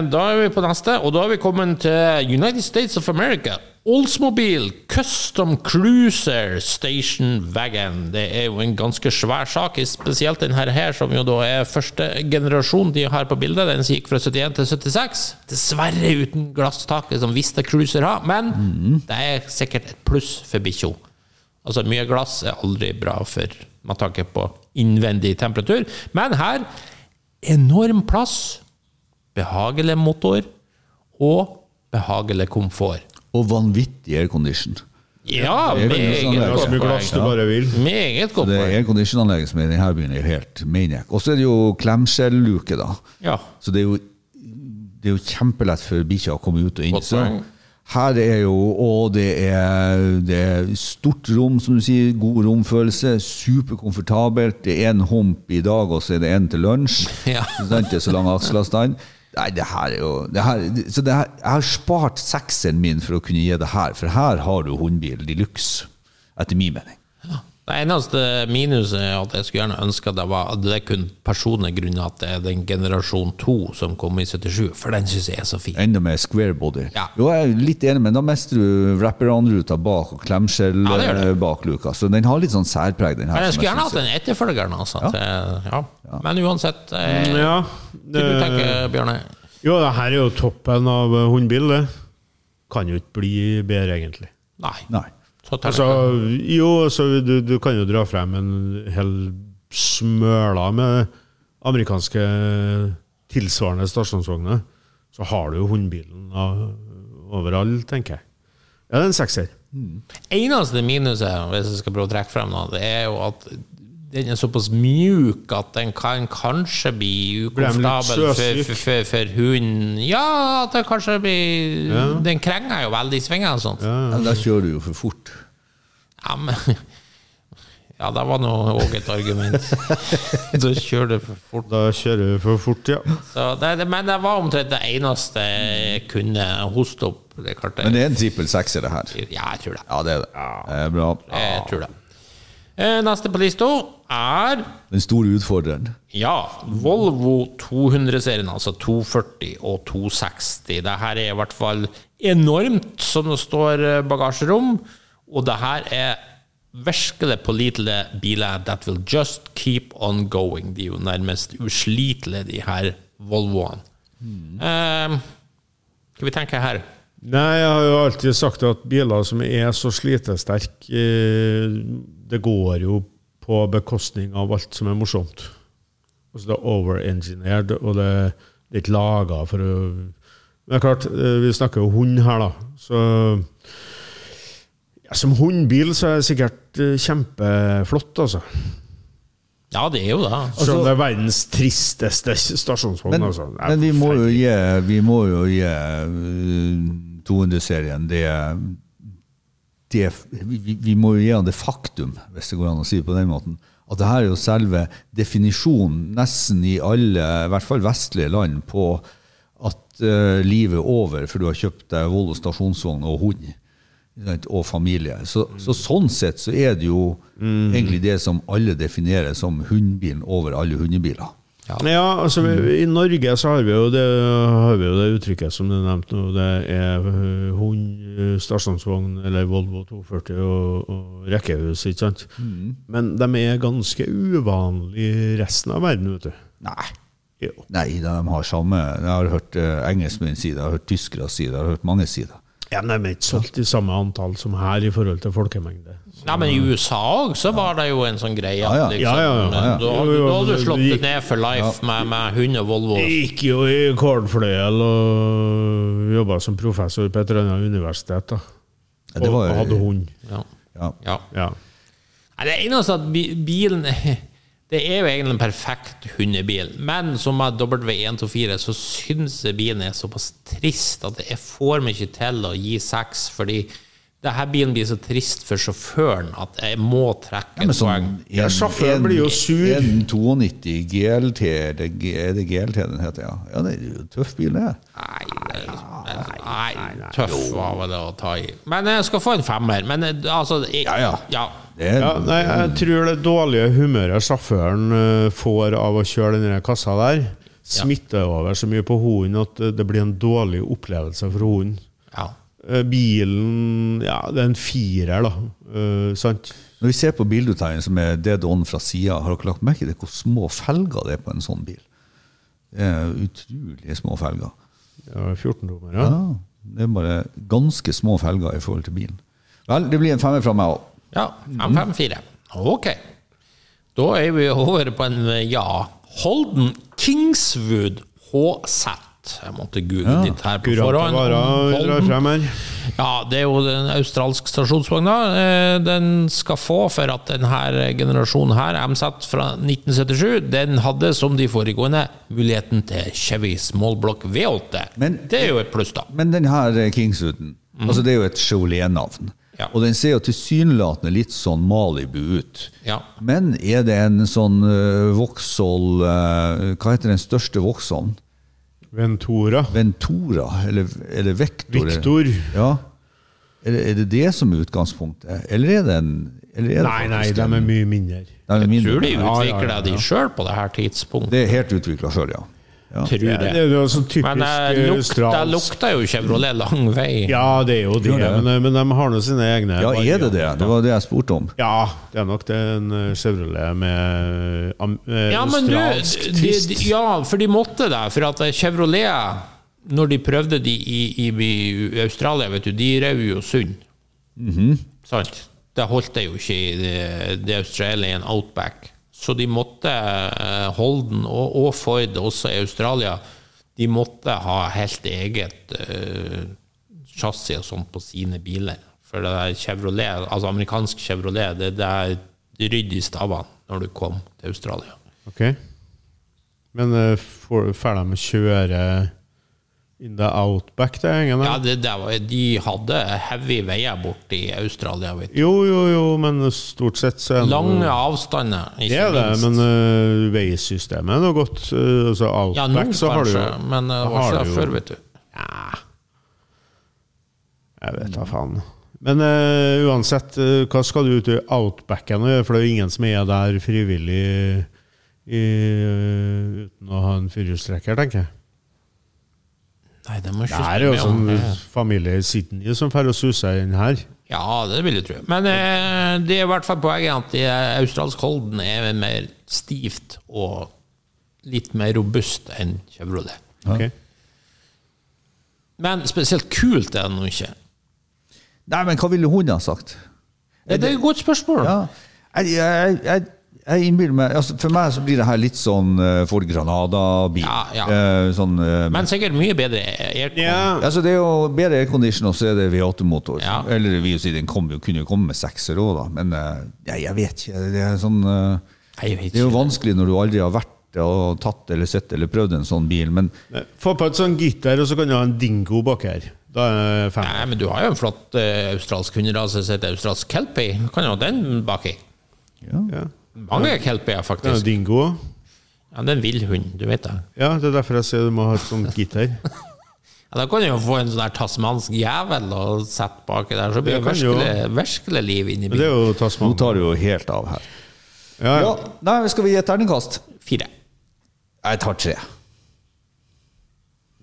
Speaker 1: da er vi på neste, og da er vi kommet til United States of America. Oldsmobile Custom Cruiser Station Wagon. Det er jo en ganske svær sak, spesielt den her, her som jo da er første generasjon de har på bildet. Den som gikk fra 71 til 76. Dessverre uten glasstaket som Vista Cruiser har, men det er sikkert et pluss for bikkja. Altså, mye glass er aldri bra for med tanke på innvendig temperatur. Men her enorm plass, behagelig motor og behagelig komfort.
Speaker 3: Og vanvittig aircondition.
Speaker 1: Ja,
Speaker 3: Det er veldig
Speaker 1: meget
Speaker 3: sånn det er.
Speaker 4: Det er så
Speaker 1: godt
Speaker 4: mye glass du
Speaker 1: poeng.
Speaker 4: bare vil.
Speaker 1: Meget godt
Speaker 3: Det er
Speaker 1: poeng.
Speaker 3: airconditionanlegget som er i denne byen, er jo helt maniac. Og så er det jo klemskjelluke, da.
Speaker 1: Ja.
Speaker 3: Så det er jo, det er jo kjempelett for bikkja å komme ut og inn.
Speaker 1: Godt
Speaker 3: Så
Speaker 1: poeng.
Speaker 3: her er jo Og det er, det er stort rom, som du sier. God romfølelse. Superkomfortabelt. Det er én hump i dag, og så er det én til lunsj.
Speaker 1: <laughs> Ja.
Speaker 3: Ikke sant? Det er så lang akselavstand. Nei, det her er jo det her, Så det her, jeg har spart sekseren min for å kunne gi det her, for her har du hundbil de luxe, etter min mening.
Speaker 1: Det eneste minuset er at jeg skulle gjerne ønske at det var at det er kun personlige grunner at det er den generasjon 2 som kom i 77, for den syns jeg er så fin.
Speaker 3: Enda mer square body.
Speaker 1: Ja.
Speaker 3: Jo, jeg er litt enig, men da mestrer du wraparound-ruta bak og klemskjell
Speaker 1: Ja, det gjør det.
Speaker 3: eh, bak luka. Så den har litt sånn særpreg, den her.
Speaker 1: Men jeg
Speaker 3: som
Speaker 1: skulle gjerne
Speaker 3: synes
Speaker 1: hatt en etterfølger. Altså, at, eh, ja. Men uansett eh,
Speaker 4: Ja.
Speaker 1: Hva du
Speaker 4: det-
Speaker 1: tenker Bjørne?
Speaker 4: Jo, det her er jo toppen av eh, hundbil, det. Kan jo ikke bli bedre, egentlig.
Speaker 1: Nei.
Speaker 3: er- Nei.
Speaker 1: Så tar
Speaker 4: Altså,
Speaker 1: jeg ikke.
Speaker 4: jo, så du, du kan jo dra frem en hel smøla med amerikanske tilsvarende stasjonsvogner. Så har du jo hundbilen av- overalt, tenker jeg. Ja, det er en sekser.
Speaker 1: Eneste minuset, hvis jeg skal prøve å trekke frem noe, det er jo at den er såpass mjuk at den kan kanskje bli
Speaker 4: den litt
Speaker 1: ukomfortabel for,
Speaker 4: søsyk?
Speaker 1: for, for, for hunden. Ja, at det kanskje blir Den krenger jo veldig i svingene og sånt. Ja,
Speaker 3: Ja, da kjører du jo for fort.
Speaker 1: men Ja, det var nå òg et argument. Så kjører du for fort.
Speaker 4: Da kjører vi for fort, ja.
Speaker 1: Så det, det- men det var omtrent det eneste jeg kunne hoste opp. Det er klart det-
Speaker 3: Men det er en trippel sekser, det her.
Speaker 1: Ja, jeg tror det.
Speaker 3: Ja, det er det. Eh, bra.
Speaker 1: Jeg tror det. Eh, Neste på lista er
Speaker 3: Den store utfordreren.
Speaker 1: ja, Volvo 200-serien, altså 240 og 260. Det her er i hvert fall enormt, som det står eh, bagasjerom. Og det her er virkelig pålitelige biler that will just keep on going. De er jo nærmest uslitelige, de her Volvoene.
Speaker 4: Hmm.
Speaker 1: Eh, skal vi tenke her?
Speaker 4: Nei, jeg har jo alltid sagt at biler som er så slitesterke, eh, det går jo på bekostning av alt som er morsomt. Altså det er overengineered, og det det er ikke laga for å Men det er klart, eh, vi snakker jo hund her, da. Så ja, som hundbil så er det sikkert eh, kjempeflott, altså.
Speaker 1: Ja, det er jo det.
Speaker 4: Selv om det er verdens tristeste stasjonsvogn.
Speaker 3: Altså- Men,
Speaker 4: Altså. Det er
Speaker 3: men vi må jo
Speaker 4: forferdelig.
Speaker 3: gi, vi må jo gi eh, 200-serien det, det vi, vi må jo gi han det faktum, hvis det går an å si det på den måten, at det her er jo selve definisjonen nesten i alle, i hvert fall vestlige land, på at eh, livet er over for du har kjøpt deg Volvo stasjonsvogn og hund. ikke sant, Og familie. Så, så sånn sett så er det jo egentlig det som alle definerer som hundbilen over alle hundebiler.
Speaker 4: Ja, altså vi- I Norge så har vi jo det, har vi jo det uttrykket som du nevnte nå. Det er øh, hund, øh, stasjonsvogn eller Volvo 240 og, og rekkehus, ikke sant.
Speaker 3: Mm.
Speaker 4: Men de er ganske uvanlige i resten av verden, vet du.
Speaker 3: Nei.
Speaker 4: Jo.
Speaker 3: Nei, de har samme Jeg har hørt eh, engelskmenn si det, jeg har hørt tyskere si det, jeg har hørt mange si det.
Speaker 4: Ja, men de er ikke solgt i samme antall som her i forhold til folkemengde.
Speaker 1: Nei, men i USA òg så var det jo en sånn greie.
Speaker 3: Ja, ja.
Speaker 1: at eh,
Speaker 4: Ja, ja, ja, ja.
Speaker 1: Da, hadde- da hadde du slått
Speaker 4: Ja, ja.
Speaker 1: det ned for life med, med hund og Volvo.
Speaker 4: Jeg gikk jo i kålfløyel og jobba som professor på et eller annet universitet. da.
Speaker 3: Ja,
Speaker 4: Og
Speaker 3: det var-
Speaker 4: og hadde hund.
Speaker 1: Ja.
Speaker 3: Ja.
Speaker 1: Ja.
Speaker 4: Ja.
Speaker 1: Nei, Det eneste at bi- bilen <laughs> Det er jo egentlig en perfekt hundebil, men som med W124 så syns jeg bilen er såpass trist at jeg får meg ikke til å gi seks, fordi det her bilen blir så trist for sjåføren at jeg må trekke
Speaker 3: Men
Speaker 1: et
Speaker 3: sånn
Speaker 1: poeng.
Speaker 4: Ja, sjåføren blir jo sur.
Speaker 3: 192 GLT, er det, G- er det GLT den heter, ja. ja det er jo en tøff bil, det.
Speaker 1: Nei, det er liksom- nei, tøff var vel det å ta i. Men jeg skal få en femmer. Men eh, altså jeg,
Speaker 3: Ja, ja. det er,
Speaker 4: Ja, nei, jeg tror det dårlige humøret sjåføren eh, får av å kjøre den der kassa der, smitter over så mye på hunden at eh, det blir en dårlig opplevelse for hunden.
Speaker 1: ja.
Speaker 4: Eh, Bilen Ja, det er en firer, da. Eh, sant?
Speaker 3: Når vi ser på bildetegn som er dead on fra sida, har dere lagt merke til hvor små felger det er på en sånn bil? Det er utrolig små felger.
Speaker 4: Ja, 14-tommere.
Speaker 3: Ja, det er bare ganske små felger i forhold til bilen. Vel, det blir en femmer fra meg òg.
Speaker 1: Ja, fem, fem, fire. Ok. Da er vi over på en ja. Holden Kingswood HZ. Jeg måtte google litt her på
Speaker 4: Kurante
Speaker 1: forhånd.
Speaker 4: varer vi drar
Speaker 1: Holden.
Speaker 4: frem her.
Speaker 1: Ja, det er jo den australske stasjonsvogna. eh, Den skal få for at denne generasjonen her, MZ fra 1977, den hadde, som de foregående, muligheten til Chevy Smallblock V8.
Speaker 3: Men-
Speaker 1: det er jo et pluss, da.
Speaker 3: Men den her eh, Kingswooden, altså det er jo et Chaulet-navn.
Speaker 1: Ja.
Speaker 3: Og den ser jo tilsynelatende litt sånn Malibu ut.
Speaker 1: Ja.
Speaker 3: Men er det en sånn eh, Vauxhall eh, Hva heter den største Vauxhallen?
Speaker 4: Ventura.
Speaker 3: Ventura? Eller, eller Vector? eller-
Speaker 4: Victor.
Speaker 3: Ja. Er, det- er det det som er utgangspunktet? Eller er det en eller er det
Speaker 4: Nei, nei,
Speaker 3: faktisk
Speaker 4: de
Speaker 3: en-
Speaker 4: er mye mindre.
Speaker 3: Nei, det er
Speaker 1: Jeg
Speaker 3: mindre.
Speaker 1: tror de
Speaker 4: Ja, ja,
Speaker 1: utvikla
Speaker 4: ja,
Speaker 1: de
Speaker 4: ja.
Speaker 1: sjøl på det her tidspunktet.
Speaker 3: Det er helt utvikla sjøl, ja. ja.
Speaker 1: Tror
Speaker 4: Ja, det er
Speaker 1: jeg.
Speaker 4: jo sånn typisk
Speaker 1: Men eh, lukta,
Speaker 4: australsk-
Speaker 1: lukta jo Chevrolet lang vei.
Speaker 4: Ja, det er jo det,
Speaker 3: Jo, det er.
Speaker 4: Men, men de har nå sine egne.
Speaker 3: Ja, er det det? Det var det jeg spurte om.
Speaker 4: Ja, det er nok det er en eh, Chevrolet med am, eh,
Speaker 1: Ja, men du,
Speaker 4: australsk
Speaker 1: de,
Speaker 4: twist.
Speaker 1: de, ja, for de måtte det. For at eh, Chevrolet, når de prøvde de i, i, i Australia, vet du, de rev jo sund. Sant? Det holdt det jo ikke i det, det Australian Outback. Så de måtte, eh, Holden og, og Ford, også i Australia, de måtte ha helt eget eh, chassis og sånt på sine biler. For det der Chevrolet, altså amerikansk Chevrolet, det, det er rydd i stavene når du kom til Australia.
Speaker 4: Ok. Men eh, får får de kjøre in the outback, det gjengen?
Speaker 1: Ja,
Speaker 4: da?
Speaker 1: det, det var, de hadde heavy veier borte i Australia. Vet du.
Speaker 4: Jo, jo, jo, men stort sett så er det-
Speaker 1: Lange avstander,
Speaker 4: Det
Speaker 1: ikke
Speaker 4: er det,
Speaker 1: minst.
Speaker 4: men eh, veisystemet er noe godt. eh, altså
Speaker 1: ja, nå
Speaker 4: outback, så har du
Speaker 1: kanskje,
Speaker 4: jo
Speaker 1: men eh, det
Speaker 4: da
Speaker 1: var
Speaker 4: har
Speaker 1: ikke
Speaker 4: du
Speaker 1: det
Speaker 4: jo-
Speaker 1: før, vet du.
Speaker 4: Jeg vet da faen. Men eh, uansett, eh, hva skal du ut i outbacken og gjøre? For det er jo ingen som er der frivillig i, uten å ha en firehjulstrekker, tenker jeg.
Speaker 1: Nei, det må
Speaker 4: Det
Speaker 1: ikke
Speaker 4: er jo
Speaker 1: spørre
Speaker 4: sånn
Speaker 1: om.
Speaker 4: familie i Sydney som drar og suser inn her.
Speaker 1: Ja, det vil jeg tro. Men eh, det er i hvert fall poenget at de øh, australsk Holden er mer stivt og litt mer robust enn Chevrolet.
Speaker 4: Ok.
Speaker 1: Men spesielt kult er det nå ikke.
Speaker 3: Nei, men hva ville hun ha sagt?
Speaker 1: Det er et godt spørsmål.
Speaker 3: Ja. Jeg, jeg, jeg, jeg innbiller meg altså For meg så blir det her litt sånn eh, Ford Granada-bil.
Speaker 1: Ja, ja.
Speaker 3: Eh, sånn, eh,
Speaker 1: Men sikkert mye bedre aircon.
Speaker 4: Ja,
Speaker 3: altså det er jo bedre aircondition, og så er det V8-motor.
Speaker 1: Ja.
Speaker 3: Eller vi si, den kom, jo- kunne jo komme med sekser òg, da. Men eh, jeg, jeg vet ikke. Det er, sånn, eh,
Speaker 1: Nei, jeg vet
Speaker 3: det er jo
Speaker 1: ikke.
Speaker 3: vanskelig når du aldri har vært og tatt eller sett eller prøvd en sånn bil. Men
Speaker 4: Få på et sånn gitter, og så kan du ha en dingo bak her. Da er det fem.
Speaker 1: Nei, men du har jo en flott eh, australsk hunderase som heter australsk kelpie. Du kan jo ha den baki.
Speaker 4: Ja.
Speaker 1: Mange kelpier,
Speaker 4: Det er en
Speaker 1: faktisk.
Speaker 4: dingo òg.
Speaker 1: Ja, det er en vill hund, du vet det.
Speaker 4: Ja, det er derfor jeg sier du må ha et sånt gitter.
Speaker 1: Ja, da kan du jo få en sånn der tasmansk jævel og sette baki der, så blir
Speaker 4: Det
Speaker 1: det
Speaker 4: kan du jo.
Speaker 1: virkelig, virkelig liv inni
Speaker 4: Men
Speaker 1: bilen.
Speaker 4: det er jo
Speaker 3: nå
Speaker 4: Tasman.
Speaker 3: tar det jo helt av her. Ja,
Speaker 4: Ja, ja.
Speaker 3: nei, skal vi gi et terningkast?
Speaker 1: Fire.
Speaker 3: Jeg tar tre.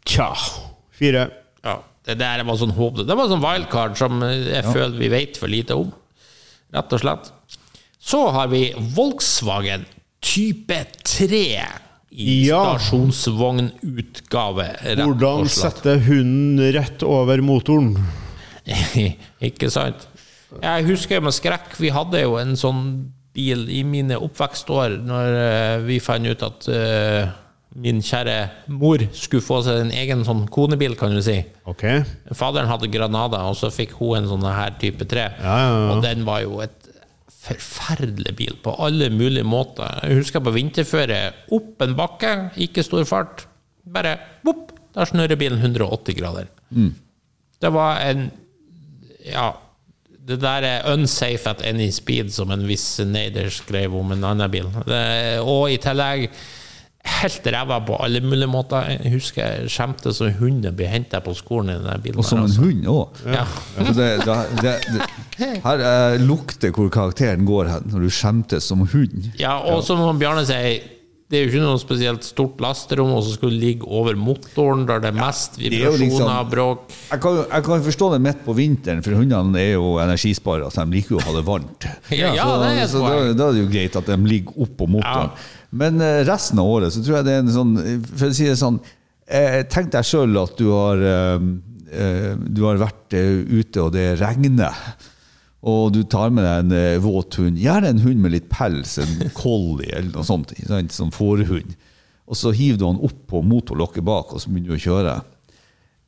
Speaker 4: Tja. Fire.
Speaker 1: Ja, det der var sånn håp. Det var sånn wildcard som eh, jeg føler vi vet for lite om. Rett og slett. Så har vi Volkswagen type 3 i
Speaker 4: Ja.
Speaker 1: stasjonsvognutgave. rett og
Speaker 4: Hvordan
Speaker 1: slett.
Speaker 4: sette hunden rett over motoren?
Speaker 1: <laughs> ikke sant? Jeg husker med skrekk, vi hadde jo en sånn bil i mine oppvekstår når eh, vi fant ut at eh, min kjære mor skulle få seg en egen sånn konebil, kan du si.
Speaker 4: Ok. Ja,
Speaker 1: Faderen hadde Granada, og så fikk hun en sånn her type 3.
Speaker 4: ja, ja.
Speaker 1: Og den var jo et forferdelig bil på alle mulige måter. Jeg husker på vinterføre, opp en bakke, ikke stor fart. Bare bopp, der snurrer bilen 180 grader. Det var en Ja, det der er 'unsafe at any speed', som en viss Nader skrev om en annen bil. Det, og i tillegg helt ræva på alle mulige måter. Jeg husker jeg skjemte som hunden ble henta på skolen i den der bilen.
Speaker 3: Og som
Speaker 1: her,
Speaker 3: en
Speaker 1: altså.
Speaker 3: hund òg.
Speaker 1: Ja.
Speaker 3: Altså det, det, det, det, her eh, lukter hvor karakteren går hen, når du skjemtes som hund.
Speaker 1: Ja, og som Bjarne sier, det er jo ikke noe spesielt stort lasterom, og så skulle det ligge over motoren, der det er mest
Speaker 3: er jo
Speaker 1: vibrasjoner,
Speaker 3: liksom-
Speaker 1: bråk <laughs>
Speaker 3: Jeg kan, jeg kan forstå det midt på vinteren, for hundene er jo energisparere, så de liker jo å ha det varmt.
Speaker 1: Ja, ja, det er et
Speaker 3: så da,
Speaker 1: poeng.
Speaker 3: da er det jo greit at de ligger oppå motoren. Men eh, resten av året så tror jeg det er en sånn For å si det sånn, eh, tenk deg sjøl at du har eh, eh, du har vært eh, ute, og det regner. Og du tar med deg en eh, våt hund, gjerne en hund med litt pels, en collie eller noe sånt, ikke sant, som fårehund. Og så hiver du han opp på motorlokket bak, og så begynner du å kjøre.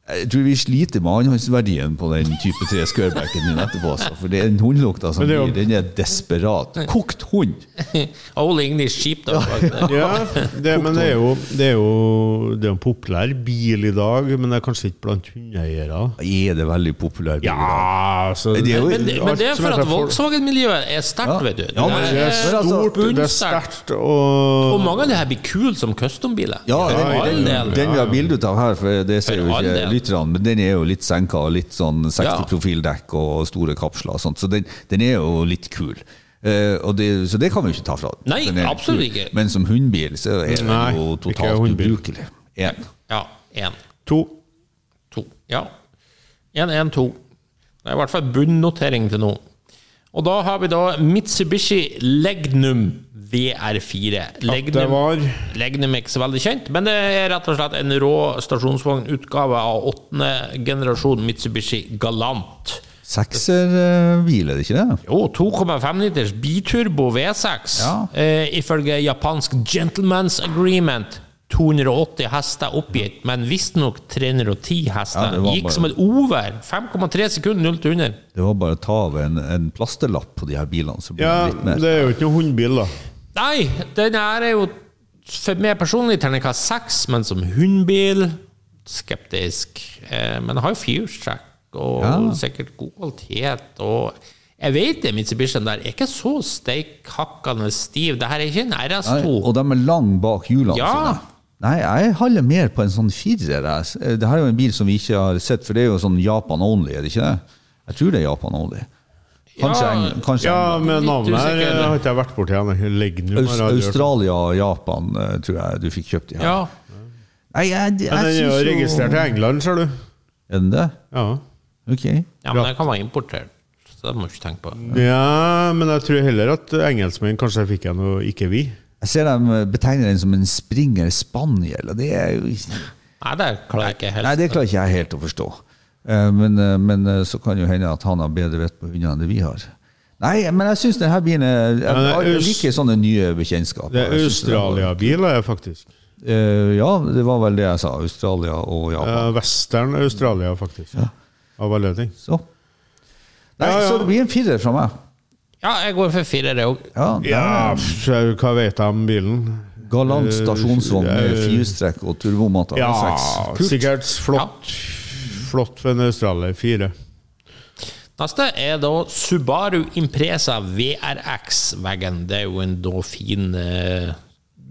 Speaker 3: Jeg tror vi sliter med anholdsverdien på den type 3 skørbekken din etterpå. Altså, for det er den hundelukta som
Speaker 4: Men det er jo-
Speaker 3: gir, den er desperat. Kokt hund!
Speaker 1: All English sheep, da.
Speaker 4: Ja, det, men det er jo Det er jo det er en populær bil i dag, men det er kanskje ikke blant hundeeiere.
Speaker 3: Er det veldig populær? bil i dag?
Speaker 4: Ja, altså
Speaker 3: Det er
Speaker 1: <laughs>
Speaker 3: jo-
Speaker 1: Men, men det er
Speaker 4: alt som
Speaker 1: for
Speaker 4: heter
Speaker 1: at Volkswagen-miljøet er sterkt,
Speaker 3: Ja.
Speaker 1: vet du.
Speaker 3: Ja, men
Speaker 4: Det
Speaker 1: det
Speaker 4: er
Speaker 1: er
Speaker 4: stort, det er
Speaker 1: bunnsterkt.
Speaker 4: sterkt, og
Speaker 1: Og mange av det her blir kule som custom-biler.
Speaker 3: Ja,
Speaker 1: For
Speaker 4: ja,
Speaker 1: all
Speaker 3: den,
Speaker 4: ja,
Speaker 1: del.
Speaker 3: den, den vi har bilde av her, for det ser jo
Speaker 1: For all
Speaker 3: ikke
Speaker 1: del.
Speaker 3: lytterne, men den er jo litt senka og litt sånn
Speaker 1: Ja.
Speaker 3: 60-profildekk og store kapsler og sånt, så den, den er jo litt kul. Eh, og det, så det kan vi jo ikke ta fra den.
Speaker 1: Nei,
Speaker 3: den. er litt
Speaker 1: absolutt
Speaker 3: kul.
Speaker 1: ikke.
Speaker 3: Men som hundbil så er den
Speaker 4: Nei,
Speaker 3: jo
Speaker 4: ikke
Speaker 3: totalt
Speaker 4: hundbil.
Speaker 3: ubrukelig. En.
Speaker 1: Ja. Én,
Speaker 4: to
Speaker 1: to. Ja. Én, én, to. Det er i hvert fall bunnotering til nå. Og da har vi da Mitsubishi Legnum VR4.
Speaker 4: det
Speaker 1: Legnum,
Speaker 4: var-
Speaker 1: Legnum er ikke så veldig kjent, men det er rett og slett en rå stasjonsvognutgave av åttende generasjon Mitsubishi Galant.
Speaker 3: Sekserbil, er det ikke det?
Speaker 1: Jo, 2,5 liters biturbo V6,
Speaker 3: Ja.
Speaker 1: eh, ifølge japansk Gentleman's Agreement. 280 hester oppgitt, men visstnok 310
Speaker 3: Ja,
Speaker 1: hester.
Speaker 3: det var
Speaker 1: Gikk
Speaker 3: bare-
Speaker 1: som et over. 5,3 sekunder 0 til 100.
Speaker 3: Det var bare å ta av en, en plasterlapp på de her bilene, så blir
Speaker 4: Ja,
Speaker 3: det litt mer.
Speaker 4: det er jo ikke noen hundbil, da.
Speaker 1: Nei, den her er jo for meg personlig terningkast 6, men som hundbil skeptisk. Eh, men har jo firestrekk og
Speaker 3: Ja.
Speaker 1: sikkert god kvalitet. Og jeg vet det, Mitsubishien der er ikke så steikhakkende stiv. Det her er ikke en
Speaker 3: Nei,
Speaker 1: RS2.
Speaker 3: og de er lang bak hjulene
Speaker 1: Ja.
Speaker 3: sine. Nei, jeg haller mer på en sånn firer. jeg. Det her er jo en bil som vi ikke har sett, for det er jo sånn Japan only, er det ikke det? Jeg tror det er Japan only. Kanskje,
Speaker 1: Ja.
Speaker 3: Eng- kanskje
Speaker 4: Ja,
Speaker 3: England.
Speaker 4: men
Speaker 1: Litt
Speaker 4: navnet her
Speaker 1: usikker.
Speaker 4: eh, har ikke jeg vært borti ennå. Legnum har jeg
Speaker 3: Aus-
Speaker 4: aldri hørt om.
Speaker 3: Australia og Japan eh, tror jeg du fikk kjøpt de her.
Speaker 1: Ja.
Speaker 3: Nei, jeg, jeg,
Speaker 4: Men den er jo
Speaker 3: synes
Speaker 4: registrert i England, ser du.
Speaker 3: Er den det?
Speaker 4: Ja.
Speaker 3: Ok.
Speaker 1: ja, men den kan være importert. Så det må du ikke tenke på.
Speaker 4: ja, men jeg tror heller at engelskmenn kanskje fikk en, og ikke vi.
Speaker 3: Jeg ser de betegner den som en springer spaniel, og det er jo ikke
Speaker 1: Nei, det klarer jeg ikke helt.
Speaker 3: Nei, det klarer ikke jeg helt å forstå. Eh, Men, eh, men eh, så kan jo hende at han har bedre vett på hunder enn det vi har. Nei, men jeg syns denne bilen er Jeg,
Speaker 4: Ja, det er
Speaker 3: jeg
Speaker 4: Aus-
Speaker 3: liker sånne nye bekjentskap.
Speaker 4: Det er Australia-bil, er jeg faktisk.
Speaker 3: Eh, Ja, det var vel det jeg sa. Australia og Japan.
Speaker 4: Eh, Western Australia, faktisk. Av alle ting.
Speaker 3: Så. Nei,
Speaker 4: Ja, ja.
Speaker 3: så det blir en firer fra meg.
Speaker 1: Ja, jeg går for firer, jeg òg.
Speaker 3: Ja, det
Speaker 4: Ja,
Speaker 3: er
Speaker 4: pff, hva vet jeg om bilen?
Speaker 3: Galant stasjonsvogn med
Speaker 4: Eh,
Speaker 3: firestrekk og turbomatta.
Speaker 4: Ja,
Speaker 3: V6. Kult.
Speaker 4: sikkert flott. Flott for en Australia 4.
Speaker 1: Neste er da Subaru Impresa VRX-veggen. Det er jo en da fin eh,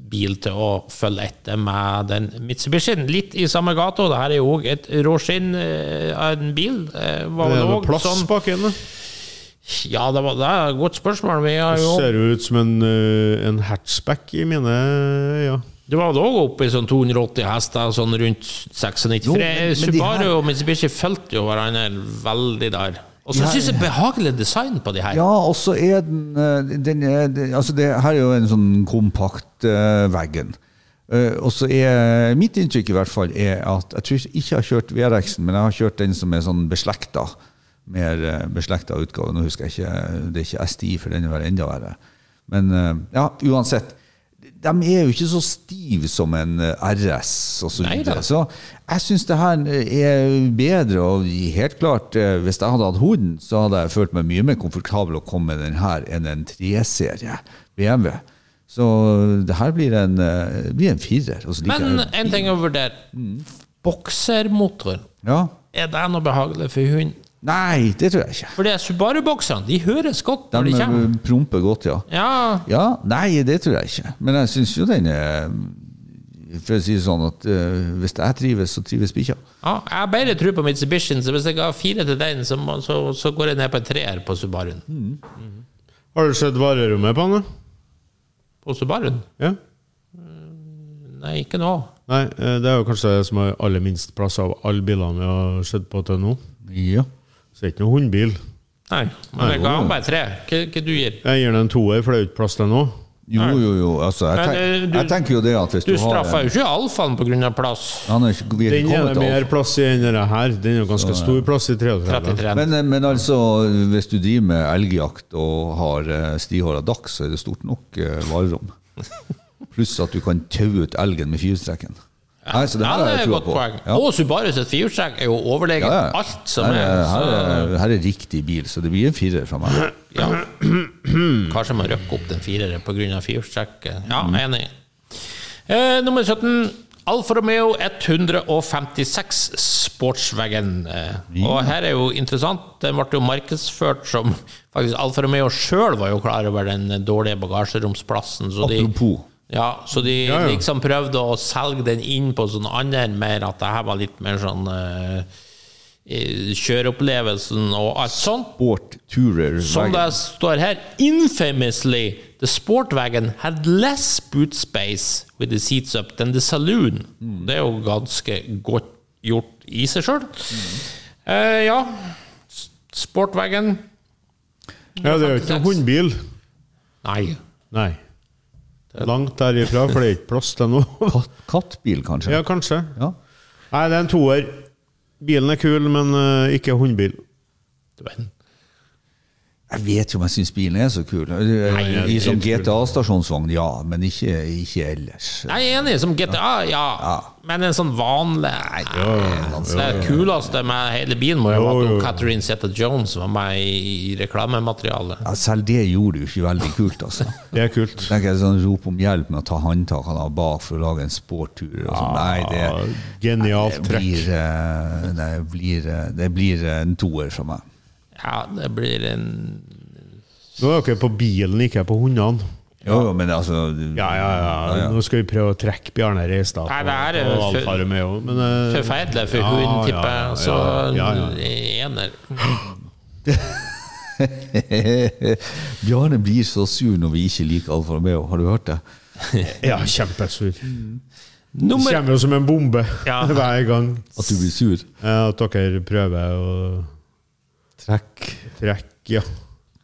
Speaker 1: bil til å følge etter med den Mitsubishien. Litt i samme gata. Det her er jo òg et råskinn eh, av en bil. Eh, var
Speaker 4: Det
Speaker 1: vel
Speaker 4: er noe
Speaker 1: også
Speaker 4: plass
Speaker 1: sånn,
Speaker 4: bak den. da.
Speaker 1: Ja, det var det er et godt spørsmål. Vi har jo,
Speaker 4: Ser jo ut som en, eh, en hatchback i mine øyne.
Speaker 1: det var vel òg oppe i sånn 280 hester, sånn rundt 96.
Speaker 3: Jo,
Speaker 1: For
Speaker 3: men- men de
Speaker 1: Subaru
Speaker 3: her-
Speaker 1: og Mitsubishi fulgte jo hverandre veldig der. Og så
Speaker 3: Ja,
Speaker 1: syns jeg behagelig design på de her.
Speaker 3: Ja, og så er den, eh, den er, det- altså det, Her er jo en sånn kompakt eh, veggen. Eh, og så er mitt inntrykk i hvert fall er at Jeg tror ikke jeg har kjørt VRX-en, men jeg har kjørt den som er sånn beslekta. Mer eh, beslekta utgave. Nå husker jeg ikke, Det er ikke STI, for den er vel enda verre. Men eh, ja, uansett. De er jo ikke så stive som en eh, RS og så
Speaker 1: Nei da.
Speaker 3: videre. Så jeg syns det her er bedre, og helt klart, eh, hvis jeg hadde hatt hunden, så hadde jeg følt meg mye mer komfortabel å komme med den her enn en 3-serie BMW. Så det her blir en, eh, blir en firer. og så liker
Speaker 1: Men
Speaker 3: jeg-
Speaker 1: en ting å vurdere. Boksermotor,
Speaker 3: ja.
Speaker 1: er det noe behagelig for hund?
Speaker 3: Nei, det tror jeg ikke.
Speaker 1: For det er Subaru-boksene, de høres godt når
Speaker 3: De
Speaker 1: de kommer.
Speaker 3: eh, promper godt, ja.
Speaker 1: Ja,
Speaker 3: Ja, nei, det tror jeg ikke. Men jeg syns jo den er For å si det sånn at eh, hvis jeg trives, så trives bikkja.
Speaker 1: ja, jeg har bedre tro på Mitsubishien, så hvis jeg har fire til den, så, må- så, så går jeg ned på en treer på Subaruen.
Speaker 4: Har du sett varerommet på den? da?
Speaker 1: På Subaruen?
Speaker 4: Ja?
Speaker 1: Nei, ikke nå.
Speaker 4: Nei, eh, det er jo kanskje det som har aller minst plass av alle bilene vi har sett på til nå.
Speaker 3: Ja.
Speaker 4: Så det er ikke noen hundbil.
Speaker 1: Nei, men jeg ga han bare tre. Hva, hva du gir
Speaker 4: Jeg gir den en toer, for det er jo ikke plass til den nå.
Speaker 3: Jo, jo, jo. Altså, jeg,
Speaker 1: Men, eh,
Speaker 3: tenk,
Speaker 1: du-
Speaker 3: jeg tenker jo det at hvis du,
Speaker 1: Du
Speaker 3: har
Speaker 1: straffa jo ikke alfaen pga. plass.
Speaker 3: Han er ikke, vi er
Speaker 4: Den
Speaker 3: ikke
Speaker 4: er
Speaker 3: kommet
Speaker 4: det mer
Speaker 3: til
Speaker 4: plass i enn denne her. Den er jo ganske stor plass i 33.
Speaker 1: 33.
Speaker 3: men, men altså, hvis du driver med elgjakt og har eh, stihåra dachs, så er det stort nok
Speaker 1: <laughs>
Speaker 3: eh, varerom. Pluss at du kan taue ut elgen med firestrekken. Nei, så det
Speaker 1: Ja,
Speaker 3: her
Speaker 1: det
Speaker 3: har
Speaker 1: er
Speaker 3: jeg
Speaker 1: et
Speaker 3: trua
Speaker 1: godt
Speaker 3: på.
Speaker 1: poeng.
Speaker 3: Ja.
Speaker 1: Og Subaru sitt firehjulstrekk er jo overlegent
Speaker 3: Ja, ja.
Speaker 1: alt som
Speaker 3: her,
Speaker 1: er.
Speaker 3: er- her,
Speaker 1: Så
Speaker 3: er, her er riktig bil, så det blir en firer fra meg.
Speaker 1: <laughs> ja. <clears throat> kanskje man røkker opp den fireren pga. firehjulstrekket. Ja, jeg er enig. Eh, nummer 17. Alfa Romeo 156 Sportswagen. Eh, Og her er jo interessant, den ble jo markedsført som faktisk Alfa Romeo sjøl var jo klar over den dårlige bagasjeromsplassen. Så de,
Speaker 3: Apropos.
Speaker 1: Ja, så de
Speaker 4: Ja, ja.
Speaker 1: liksom prøvde å selge den inn på sånn annen, mer at det her var litt mer sånn eh, eh, kjøreopplevelsen og alt sånt.
Speaker 3: Sport Tourer
Speaker 1: Som det
Speaker 3: Wagon.
Speaker 1: står her, infamously, the sportwagon had less boot space with the seats up than the saloon. Det er jo ganske godt gjort i seg sjøl. Eh, ja, S- sportwagon
Speaker 4: Ja, det er jo ikke noen hundbil.
Speaker 1: Nei.
Speaker 4: Nei. Langt derifra, for det er ikke plass <laughs> til noe.
Speaker 3: Kattbil, kanskje?
Speaker 4: Ja, kanskje.
Speaker 3: Ja.
Speaker 4: Nei, det er en toer. Bilen er kul, men eh, ikke hundbil.
Speaker 1: Du verden.
Speaker 3: Jeg vet jo om jeg syns bilen er så kul.
Speaker 4: den
Speaker 3: I sånn
Speaker 4: er
Speaker 3: som
Speaker 4: kul.
Speaker 3: GTA-stasjonsvogn, ja, men ikke, ikke ellers.
Speaker 1: Nei, Jeg er enig, som GTA, ja. Men en sånn vanlig Nei, Det er kuleste med hele bilen må jo
Speaker 4: Jo,
Speaker 1: være
Speaker 4: jo,
Speaker 1: at
Speaker 4: jo.
Speaker 1: Catherine Zeta-Jones var med i reklamematerialet.
Speaker 3: Ja, selv det gjorde det jo ikke veldig kult, altså.
Speaker 4: Det er kult.
Speaker 3: Tenker jeg sånn Rop om hjelp med å ta håndtakene av bak for å lage en sporttur. Og sånn. Nei,
Speaker 4: Ja,
Speaker 3: det,
Speaker 4: Genialt
Speaker 3: det,
Speaker 4: trekk.
Speaker 3: blir, eh, det, blir, eh, det blir eh, en toer for meg.
Speaker 1: Ja, det blir en
Speaker 4: Nå er dere på bilen, ikke på hundene.
Speaker 3: Jo, jo, men altså
Speaker 4: Ja, ja, ja. Nå skal vi prøve å trekke Bjarne Reistad
Speaker 1: Nei, det er
Speaker 4: på- på
Speaker 1: for-
Speaker 4: Alfa Romeo. men, eh,
Speaker 1: forferdelig for
Speaker 4: ja,
Speaker 1: hun, tipper
Speaker 4: ja, ja,
Speaker 1: jeg. Så eh,
Speaker 4: ja, ja.
Speaker 1: ener.
Speaker 3: <laughs> Bjarne blir så sur når vi ikke liker Alfa Romeo, har du hørt det?
Speaker 4: Ja, kjempesur. Det
Speaker 1: Nummer
Speaker 4: kommer jo som en bombe
Speaker 1: Ja.
Speaker 4: <laughs> hver gang
Speaker 3: At du blir sur?
Speaker 4: eh, at dere prøver å
Speaker 3: Trekk.
Speaker 4: trekke, ja.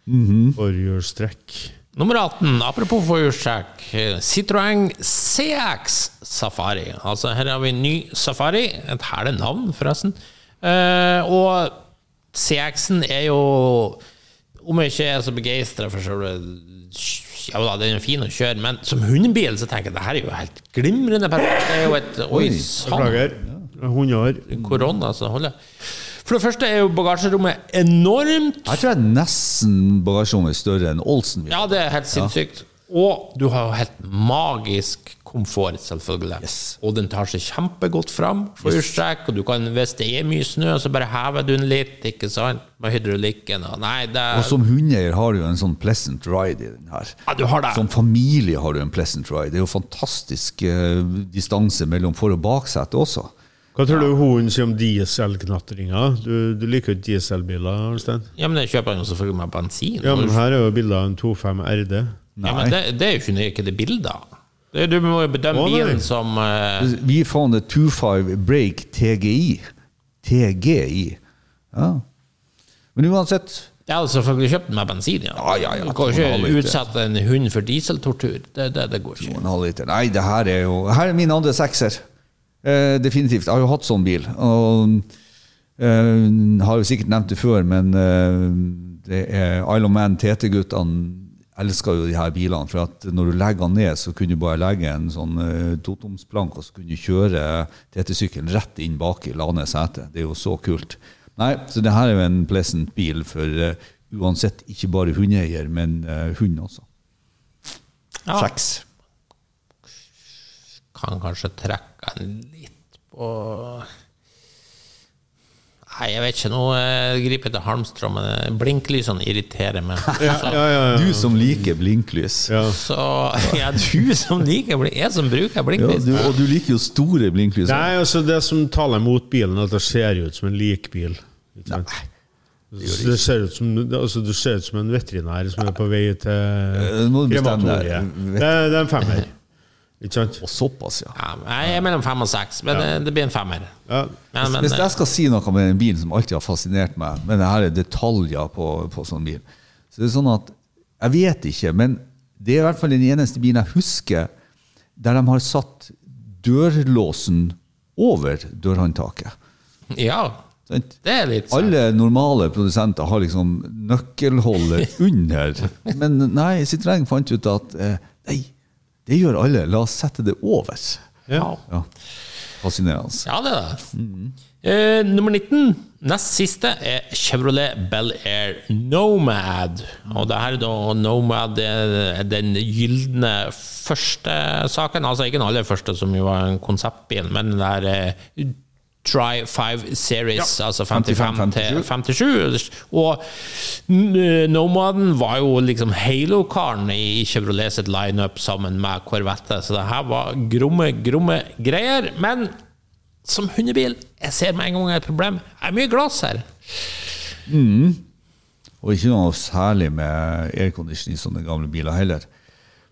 Speaker 4: Forhjulstrekk.
Speaker 1: Nummer 18, apropos forhjulstrekk, eh, Citroën CX Safari. Altså, her har vi en ny Safari. Et herlig navn, forresten. Eh, og CX-en er jo Om jeg ikke er så begeistra for selve ja da, den er fin å kjøre, men som hundebil så tenker jeg det her er jo helt glimrende perfekt. Det er jo et Oi sann!
Speaker 4: Beklager. Hundeår.
Speaker 1: Korona, så holder jeg. For det første er jo bagasjerommet enormt.
Speaker 3: Jeg tror jeg nesten bagasjerommet er større enn Olsen.
Speaker 1: Ja, det er helt sinnssykt. Og du har jo helt magisk komfort, selvfølgelig. Og den tar seg kjempegodt fram, forhjulstrekk, og du kan, hvis det er mye snø, så bare hever du den litt, ikke sant, med hydraulikken og Nei, det
Speaker 3: Og som hundeeier har du jo en sånn pleasant ride i den her.
Speaker 1: Ja, du har det.
Speaker 3: Som familie har du en pleasant ride. Det er jo fantastisk eh, distanse mellom for- og baksete også.
Speaker 4: Hva tror du hunden sier om dieselknatringa? Du, du liker jo ikke dieselbiler, Arnstein?
Speaker 1: Ja, men jeg kjøper jo selvfølgelig med bensin.
Speaker 4: Ja, men
Speaker 1: Ja,
Speaker 4: her er jo bilde av en 25 RD.
Speaker 1: men det, det er jo ikke nøye hva det er bilder av. Det- Du må jo bedømme
Speaker 4: Å, nei.
Speaker 1: bilen som eh,
Speaker 3: Vi fant et 25 break TGI. TGI. Ja. Men uansett
Speaker 1: Jeg hadde selvfølgelig kjøpt den med bensin, ja.
Speaker 3: Ja, ja, ja,
Speaker 1: Du kan jo
Speaker 3: 2,5
Speaker 1: ikke
Speaker 3: liter.
Speaker 1: utsette en hund for dieseltortur. Det, det, det går ikke.
Speaker 3: en halv liter. Nei, det her er jo Her er min andre sekser. Eh, definitivt. Jeg har jo hatt sånn bil. Og eh, har jo sikkert nevnt det før, men eh, det er Isle of Man, TT-guttene elsker jo de her bilene. For at når du legger den ned, så kunne du bare legge en sånn eh, totomsplank, og så kunne du kjøre TT-sykkelen rett inn bak i lane sete. Det er jo så kult. Nei, så det her er jo en pleasant bil for eh, uansett ikke bare hundeeier, men eh, hund også.
Speaker 1: Ja.
Speaker 3: Seks.
Speaker 1: kan kanskje trekke en litt på Nei, jeg vet ikke. Nå eh, griper jeg til halmstrå, men eh, blinklysene irriterer
Speaker 3: <laughs>
Speaker 1: meg. Så,
Speaker 4: Ja, ja, ja.
Speaker 3: Du som liker blinklys.
Speaker 4: ja.
Speaker 1: så ja, du som liker blink... Jeg som bruker
Speaker 3: Ja,
Speaker 1: blinklys.
Speaker 3: du, og du liker jo store blinklys.
Speaker 4: Nei, altså det som taler mot bilen, er at det ser ut som en likbil. Ikke sant? Så Det ser ut som, altså, du ser ut som en veterinær som er på vei
Speaker 3: nå må
Speaker 4: til
Speaker 3: du bestemme
Speaker 4: krematoriet.
Speaker 3: deg.
Speaker 4: Det, er- det er en femmer. Ikke sant?
Speaker 3: Og såpass, ja.
Speaker 1: Ja, nei, jeg er mellom fem og seks, men eh, det blir en femmer.
Speaker 4: Ja.
Speaker 1: Men, eh, men,
Speaker 3: Hvis jeg skal si noe med en bil som alltid har fascinert meg, men det her er detaljer på, på sånn bil Så det er sånn at Jeg vet ikke, men Det er i hvert fall den eneste bilen jeg husker der de har satt dørlåsen over dørhåndtaket.
Speaker 1: eh, Ja,
Speaker 3: Sant?
Speaker 1: det er litt sånn. sant.
Speaker 3: Alle normale produsenter har
Speaker 1: <laughs>
Speaker 3: liksom nøkkelholdet under. Men nei, Citroën fant ut at eh, nei, det gjør alle. La oss sette det over.
Speaker 4: Ja.
Speaker 3: Ja. Fascinerende. altså.
Speaker 1: Ja, det er det. Eh, nummer 19, nest siste, er Chevrolet Bel Air Nomad. Og det her er da Nomad det er den gylne første saken, altså ikke den aller første, som jo var en konseptbil, men den der eh, Try 5 Series, altså 55 til 57. Og n- Nomaden var jo liksom Halo-karen i Chevrolet sitt lineup sammen med Corvette, så det her var gromme, gromme greier. Men som hundebil, jeg ser med en gang et problem. Det er mye glass her.
Speaker 3: Og ikke noe særlig med aircondition i sånne gamle biler heller.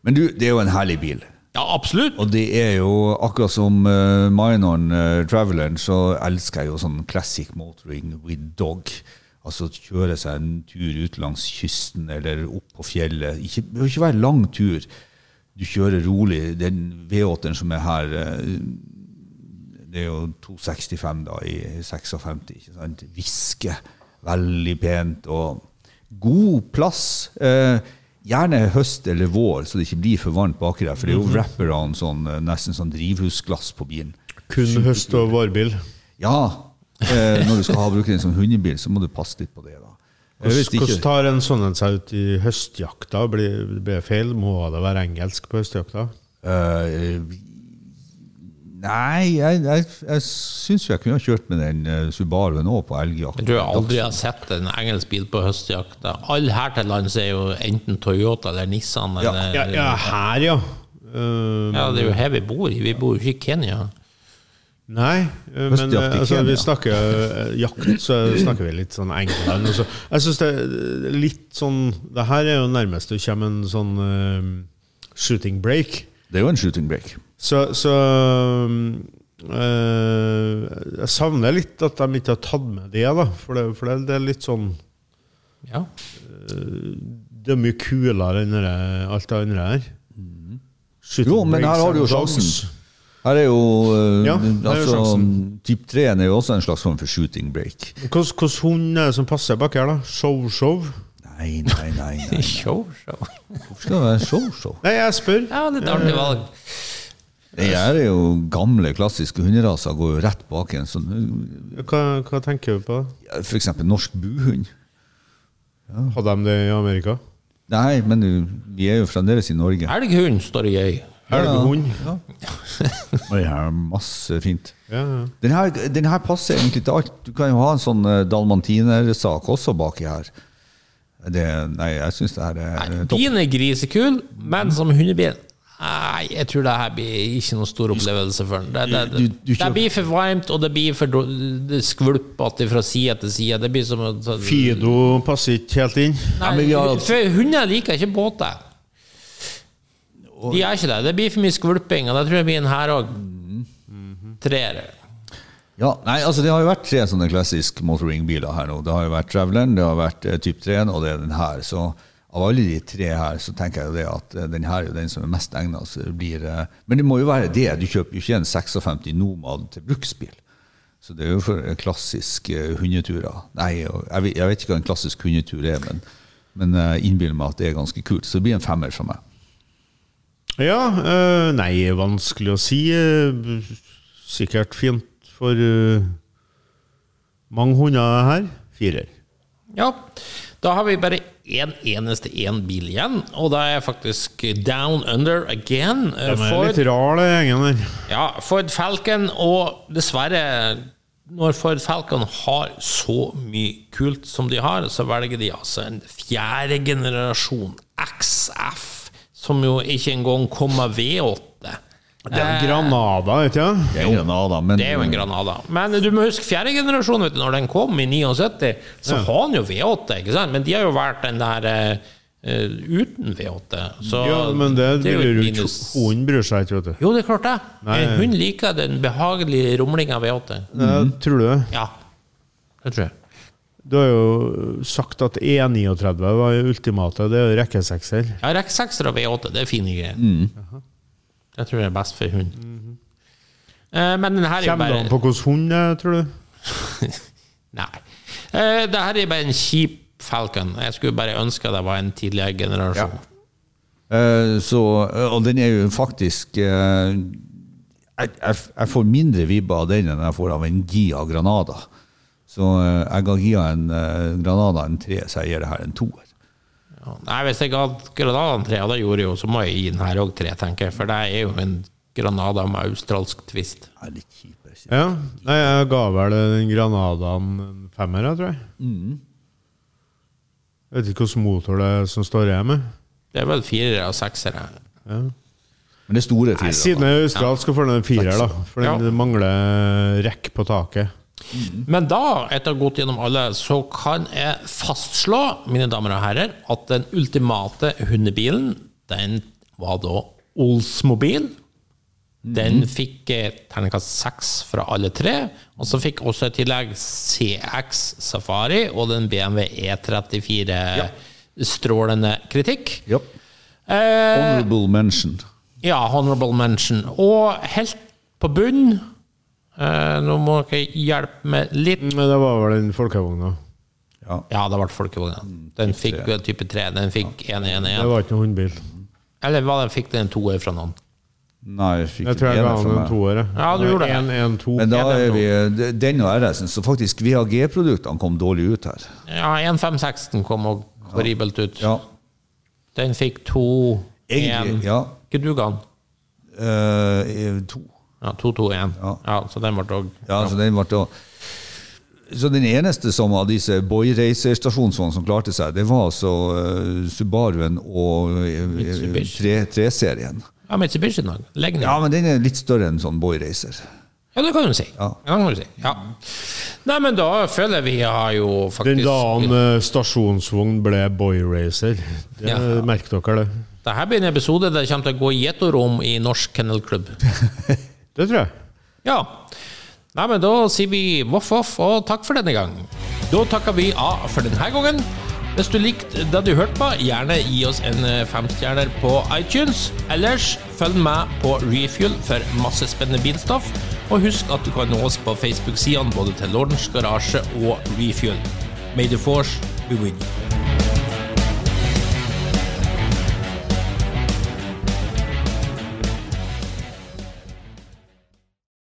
Speaker 3: Men du, det er jo en herlig bil.
Speaker 1: Ja, absolutt.
Speaker 3: Og det er jo akkurat som uh, minoren eh, Traveleren, så elsker jeg jo sånn classic motoring with dog. Altså kjøre seg en tur ut langs kysten eller opp på fjellet. Ikke, det behøver ikke være lang tur. Du kjører rolig. Den V8-en som er her, eh, det er jo 265 da, i 56, ikke sant? Viske, veldig pent, og god plass. Eh, gjerne høst eller vår, så det ikke blir for varmt baki der, for det er jo wraparound, sånn, eh, nesten sånn drivhusglass på bilen.
Speaker 4: Kun høst- og vårbil.
Speaker 3: Ja, eh, når du skal ha bruke den som hundebil, så må du passe litt på det da. Jeg vet
Speaker 4: Hvordan
Speaker 3: ikke,
Speaker 4: tar en sånn en seg ut i høstjakta? Blir det blir feil? Må det være engelsk på høstjakta?
Speaker 3: eh, nei, jeg, jeg, jeg synes jo jeg kunne ha kjørt med den eh, Subaruen også på elgjakt.
Speaker 1: Jeg tror jeg aldri har sett en engelsk bil på høstjakta. Alle her til lands er jo enten Toyota eller Nissan.
Speaker 3: Ja.
Speaker 1: Eller,
Speaker 4: Ja, ja her, ja. Eh,
Speaker 1: Ja, det er jo her vi bor. i. Vi bor jo ikke i Kenya.
Speaker 4: Nei, eh, men
Speaker 3: Høstjakt i
Speaker 4: eh, altså,
Speaker 3: Kenya.
Speaker 4: vi snakker eh, jakt, så snakker vi litt sånn England. Og så. Jeg syns det er litt sånn Det her er jo nærmest det kommer en sånn eh, shooting break.
Speaker 3: Det er jo en shooting break.
Speaker 4: Så, så eh, Jeg savner litt at de ikke har tatt med det, da. For det, for det, det er litt sånn
Speaker 1: Ja.
Speaker 4: Det er mye kulere enn det, alt det andre her.
Speaker 3: Mm.
Speaker 4: Shooting
Speaker 3: Jo, men her
Speaker 4: breaks
Speaker 3: har du jo
Speaker 4: and dogs.
Speaker 3: sjansen. Her er jo eh,
Speaker 4: Ja, her er jo
Speaker 3: altså,
Speaker 4: sjansen.
Speaker 3: Typ 3 er jo også en slags form for shooting break.
Speaker 4: Hvordan hvordan hund er det som passer bak her, da? Show-show?
Speaker 3: Nei, nei, nei. nei.
Speaker 4: <laughs>
Speaker 1: Show, show.
Speaker 3: Hvorfor skal det være show-show?
Speaker 4: Nei, jeg spør.
Speaker 1: Ja, litt artig valg.
Speaker 3: Det her er jo gamle, klassiske hunderaser går jo rett bak en sånn eh,
Speaker 4: Hva, hva tenker du på?
Speaker 3: For eksempel norsk buhund.
Speaker 4: Hadde de det i Amerika?
Speaker 3: Nei, men du- vi er jo fremdeles i Norge.
Speaker 1: Elghund står i øy.
Speaker 4: Elghund?
Speaker 3: Ja. Og det her er masse fint.
Speaker 4: Ja, ja.
Speaker 3: Den her, den her passer egentlig til alt. Du kan jo ha en sånn eh, dalmatinersak også baki her. Det, nei, jeg syns det her er eh, topp.
Speaker 1: Din er grisekul, men som hundebil Nei, jeg tror det her blir ikke noen stor opplevelse for den. Det, det, det,
Speaker 3: Du- du- du
Speaker 1: det
Speaker 3: kjøper-
Speaker 1: blir for varmt, og det blir for dro- det skvulpete fra side til side. Det blir som å-
Speaker 4: Fido passer ikke helt inn.
Speaker 1: Nei,
Speaker 3: Ja, men vi har-
Speaker 1: for hunder liker ikke båter. De gjør ikke det. Det blir for mye skvulping, og det tror jeg blir en her òg. Treer.
Speaker 3: Ja, nei, altså Det har jo vært tre sånne klassiske motoringbiler her nå. Det har jo vært Traveleren, det har vært eh, Type 3 og det er den her. Så av alle de tre her, så tenker jeg jo det at eh, den her er jo den som er mest egna. Men det må jo være det. Du kjøper jo ikke en 56 Nomad til bruksbil. Så det er jo for eh, klassisk eh, hundeturer. Nei, og jeg vet, jeg vet ikke hva en klassisk hundetur er, men, men jeg innbiller meg at det er ganske kult. Så det blir en femmer fra meg.
Speaker 4: Ja, øh, nei, vanskelig å si. øh, Sikkert fint for øh, mange hunder her. Firer.
Speaker 1: Ja. Da har vi bare én eneste én bil igjen, og da er faktisk Down Under again.
Speaker 4: De
Speaker 1: eh,
Speaker 4: er
Speaker 1: Ford,
Speaker 4: litt rar, det gjengen der.
Speaker 1: ja, Ford Falcon, og dessverre når Ford Falcon har så mye kult som de har, så velger de altså en fjerde generasjon XF, som jo ikke engang kommer V8.
Speaker 3: Eh.
Speaker 4: Det er en Granada, vet du.
Speaker 3: Det er, Granada, men,
Speaker 1: Det er jo en Granada. Men du må huske fjerde generasjon, vet du, når den kom i 79, så har den jo V8, ikke sant? Men de har jo valgt den der eh, eh, uten V8. Så
Speaker 4: Ja, men det,
Speaker 1: er jo et
Speaker 4: bryr jo ikke
Speaker 1: minus.
Speaker 4: Hunden bryr seg ikke, vet du.
Speaker 1: Jo, det er klart det. Eh, En hund liker den behagelige rumlinga av V8.
Speaker 4: Det tror du.
Speaker 1: Ja, det tror jeg.
Speaker 4: Du har jo sagt at E39 var jo ultimate. Det er jo rekkesekser.
Speaker 1: Ja, rekk 6 og V8, det er fine greier. Det tror Mm. jeg er best for hund. Mm-hmm. Eh, Men den her er jo
Speaker 4: Kommer det an
Speaker 1: bare
Speaker 4: på hvilken hund det er, tror du?
Speaker 1: <laughs> Nei. Eh, Det her er bare en kjip Falcon. Jeg skulle bare ønske det var en tidligere generasjon.
Speaker 3: Eh, Så, og den er jo faktisk eh, Jeg, jeg, jeg får mindre vibber av den enn jeg får av en Gia Granada. Så eh, jeg ga Gia en eh, Granada en tre, så jeg gir det her en toer.
Speaker 1: Ja. Nei, hvis jeg ga Granadaen tre, og det gjorde jeg jo, så må jeg gi den her òg tre, tenker jeg. For det er jo en Granada med australsk twist.
Speaker 3: Jeg er litt kjip. jeg sier.
Speaker 4: Ja. Nei, jeg ga vel den Granadaen en femmer, jeg tror jeg.
Speaker 1: Mm.
Speaker 4: Jeg vet ikke hvilken motor det er som står igjen med.
Speaker 1: Det er vel firere og seksere.
Speaker 3: Men det er store
Speaker 4: Nei, siden
Speaker 3: fyrer.
Speaker 4: jeg er australsk, så får den en firer, da. For den
Speaker 1: Ja.
Speaker 4: mangler rekk på taket.
Speaker 1: Men da, etter å ha gått gjennom alle, så kan jeg fastslå, mine damer og herrer, at den ultimate hundebilen, den var da Olsmobil. Den fikk eh, terningkast seks fra alle tre. Og så fikk også i tillegg CX Safari og den BMW E34 E strålende kritikk.
Speaker 3: Ja.
Speaker 1: Eh,
Speaker 3: Honorable mention.
Speaker 1: ja, honorable mention. Og helt på bunn eh, Nå må dere hjelpe meg litt.
Speaker 4: Men det var vel den folkevogna.
Speaker 3: Ja.
Speaker 1: Ja, det ble folkevogna. Den fikk jo type 3. Den fikk 111.
Speaker 4: Det var ikke noen hundbil.
Speaker 1: Eller hva den fikk den en toer fra noen?
Speaker 3: Nei, jeg fikk
Speaker 4: Jeg tror jeg
Speaker 3: en
Speaker 4: ga
Speaker 3: ener
Speaker 4: den en
Speaker 3: fra meg.
Speaker 4: toer.
Speaker 1: Ja, du gjorde det.
Speaker 4: En, en, to.
Speaker 3: Men da
Speaker 1: Ja, den
Speaker 3: er vi de- Den og RS-en, så faktisk VAG-produktene kom dårlig ut her.
Speaker 1: Ja, 156 kom og horribelt ut.
Speaker 3: Ja.
Speaker 1: Den fikk to
Speaker 3: Egentlig,
Speaker 1: en-
Speaker 3: ja.
Speaker 1: Ikke du ga den?
Speaker 3: Eh, to.
Speaker 1: Ja, 221. Ja.
Speaker 3: Ja.
Speaker 1: så den ble òg
Speaker 3: Ja, så den ble da så den eneste som av disse boyreiserstasjonsvognene som klarte seg, det var altså eh, Subaruen og eh,
Speaker 1: Mitsubishi.
Speaker 3: tre- 3-serien.
Speaker 1: Ja, Mitsubishi i dag. Legg ned.
Speaker 3: ja,
Speaker 1: Ja.
Speaker 3: men den er litt større enn sånn boyreiser.
Speaker 1: det kan du si. Ja.
Speaker 3: Ja.
Speaker 1: det kan du si. Ja. Nei, men da føler jeg vi har jo
Speaker 4: Den
Speaker 1: faktisk
Speaker 4: dagen eh, stasjonsvogn ble boyracer. Det
Speaker 1: Ja.
Speaker 4: Merk dere det.
Speaker 1: Dette blir en episode der det kommer til å gå gjetord om i Norsk Kennelklubb.
Speaker 4: Det tror jeg.
Speaker 1: Ja. Nei, men da sier vi voff voff og takk for denne gang. Da takker vi av for denne gangen. Hvis du likte det du hørte på, gjerne gi oss en eh, femstjerner på iTunes. Ellers følg med på Refuel for masse spennende bilstoff. Og husk at du kan nå oss på Facebook-sidene både til Lordens Garasje og Refuel. May the force be with you.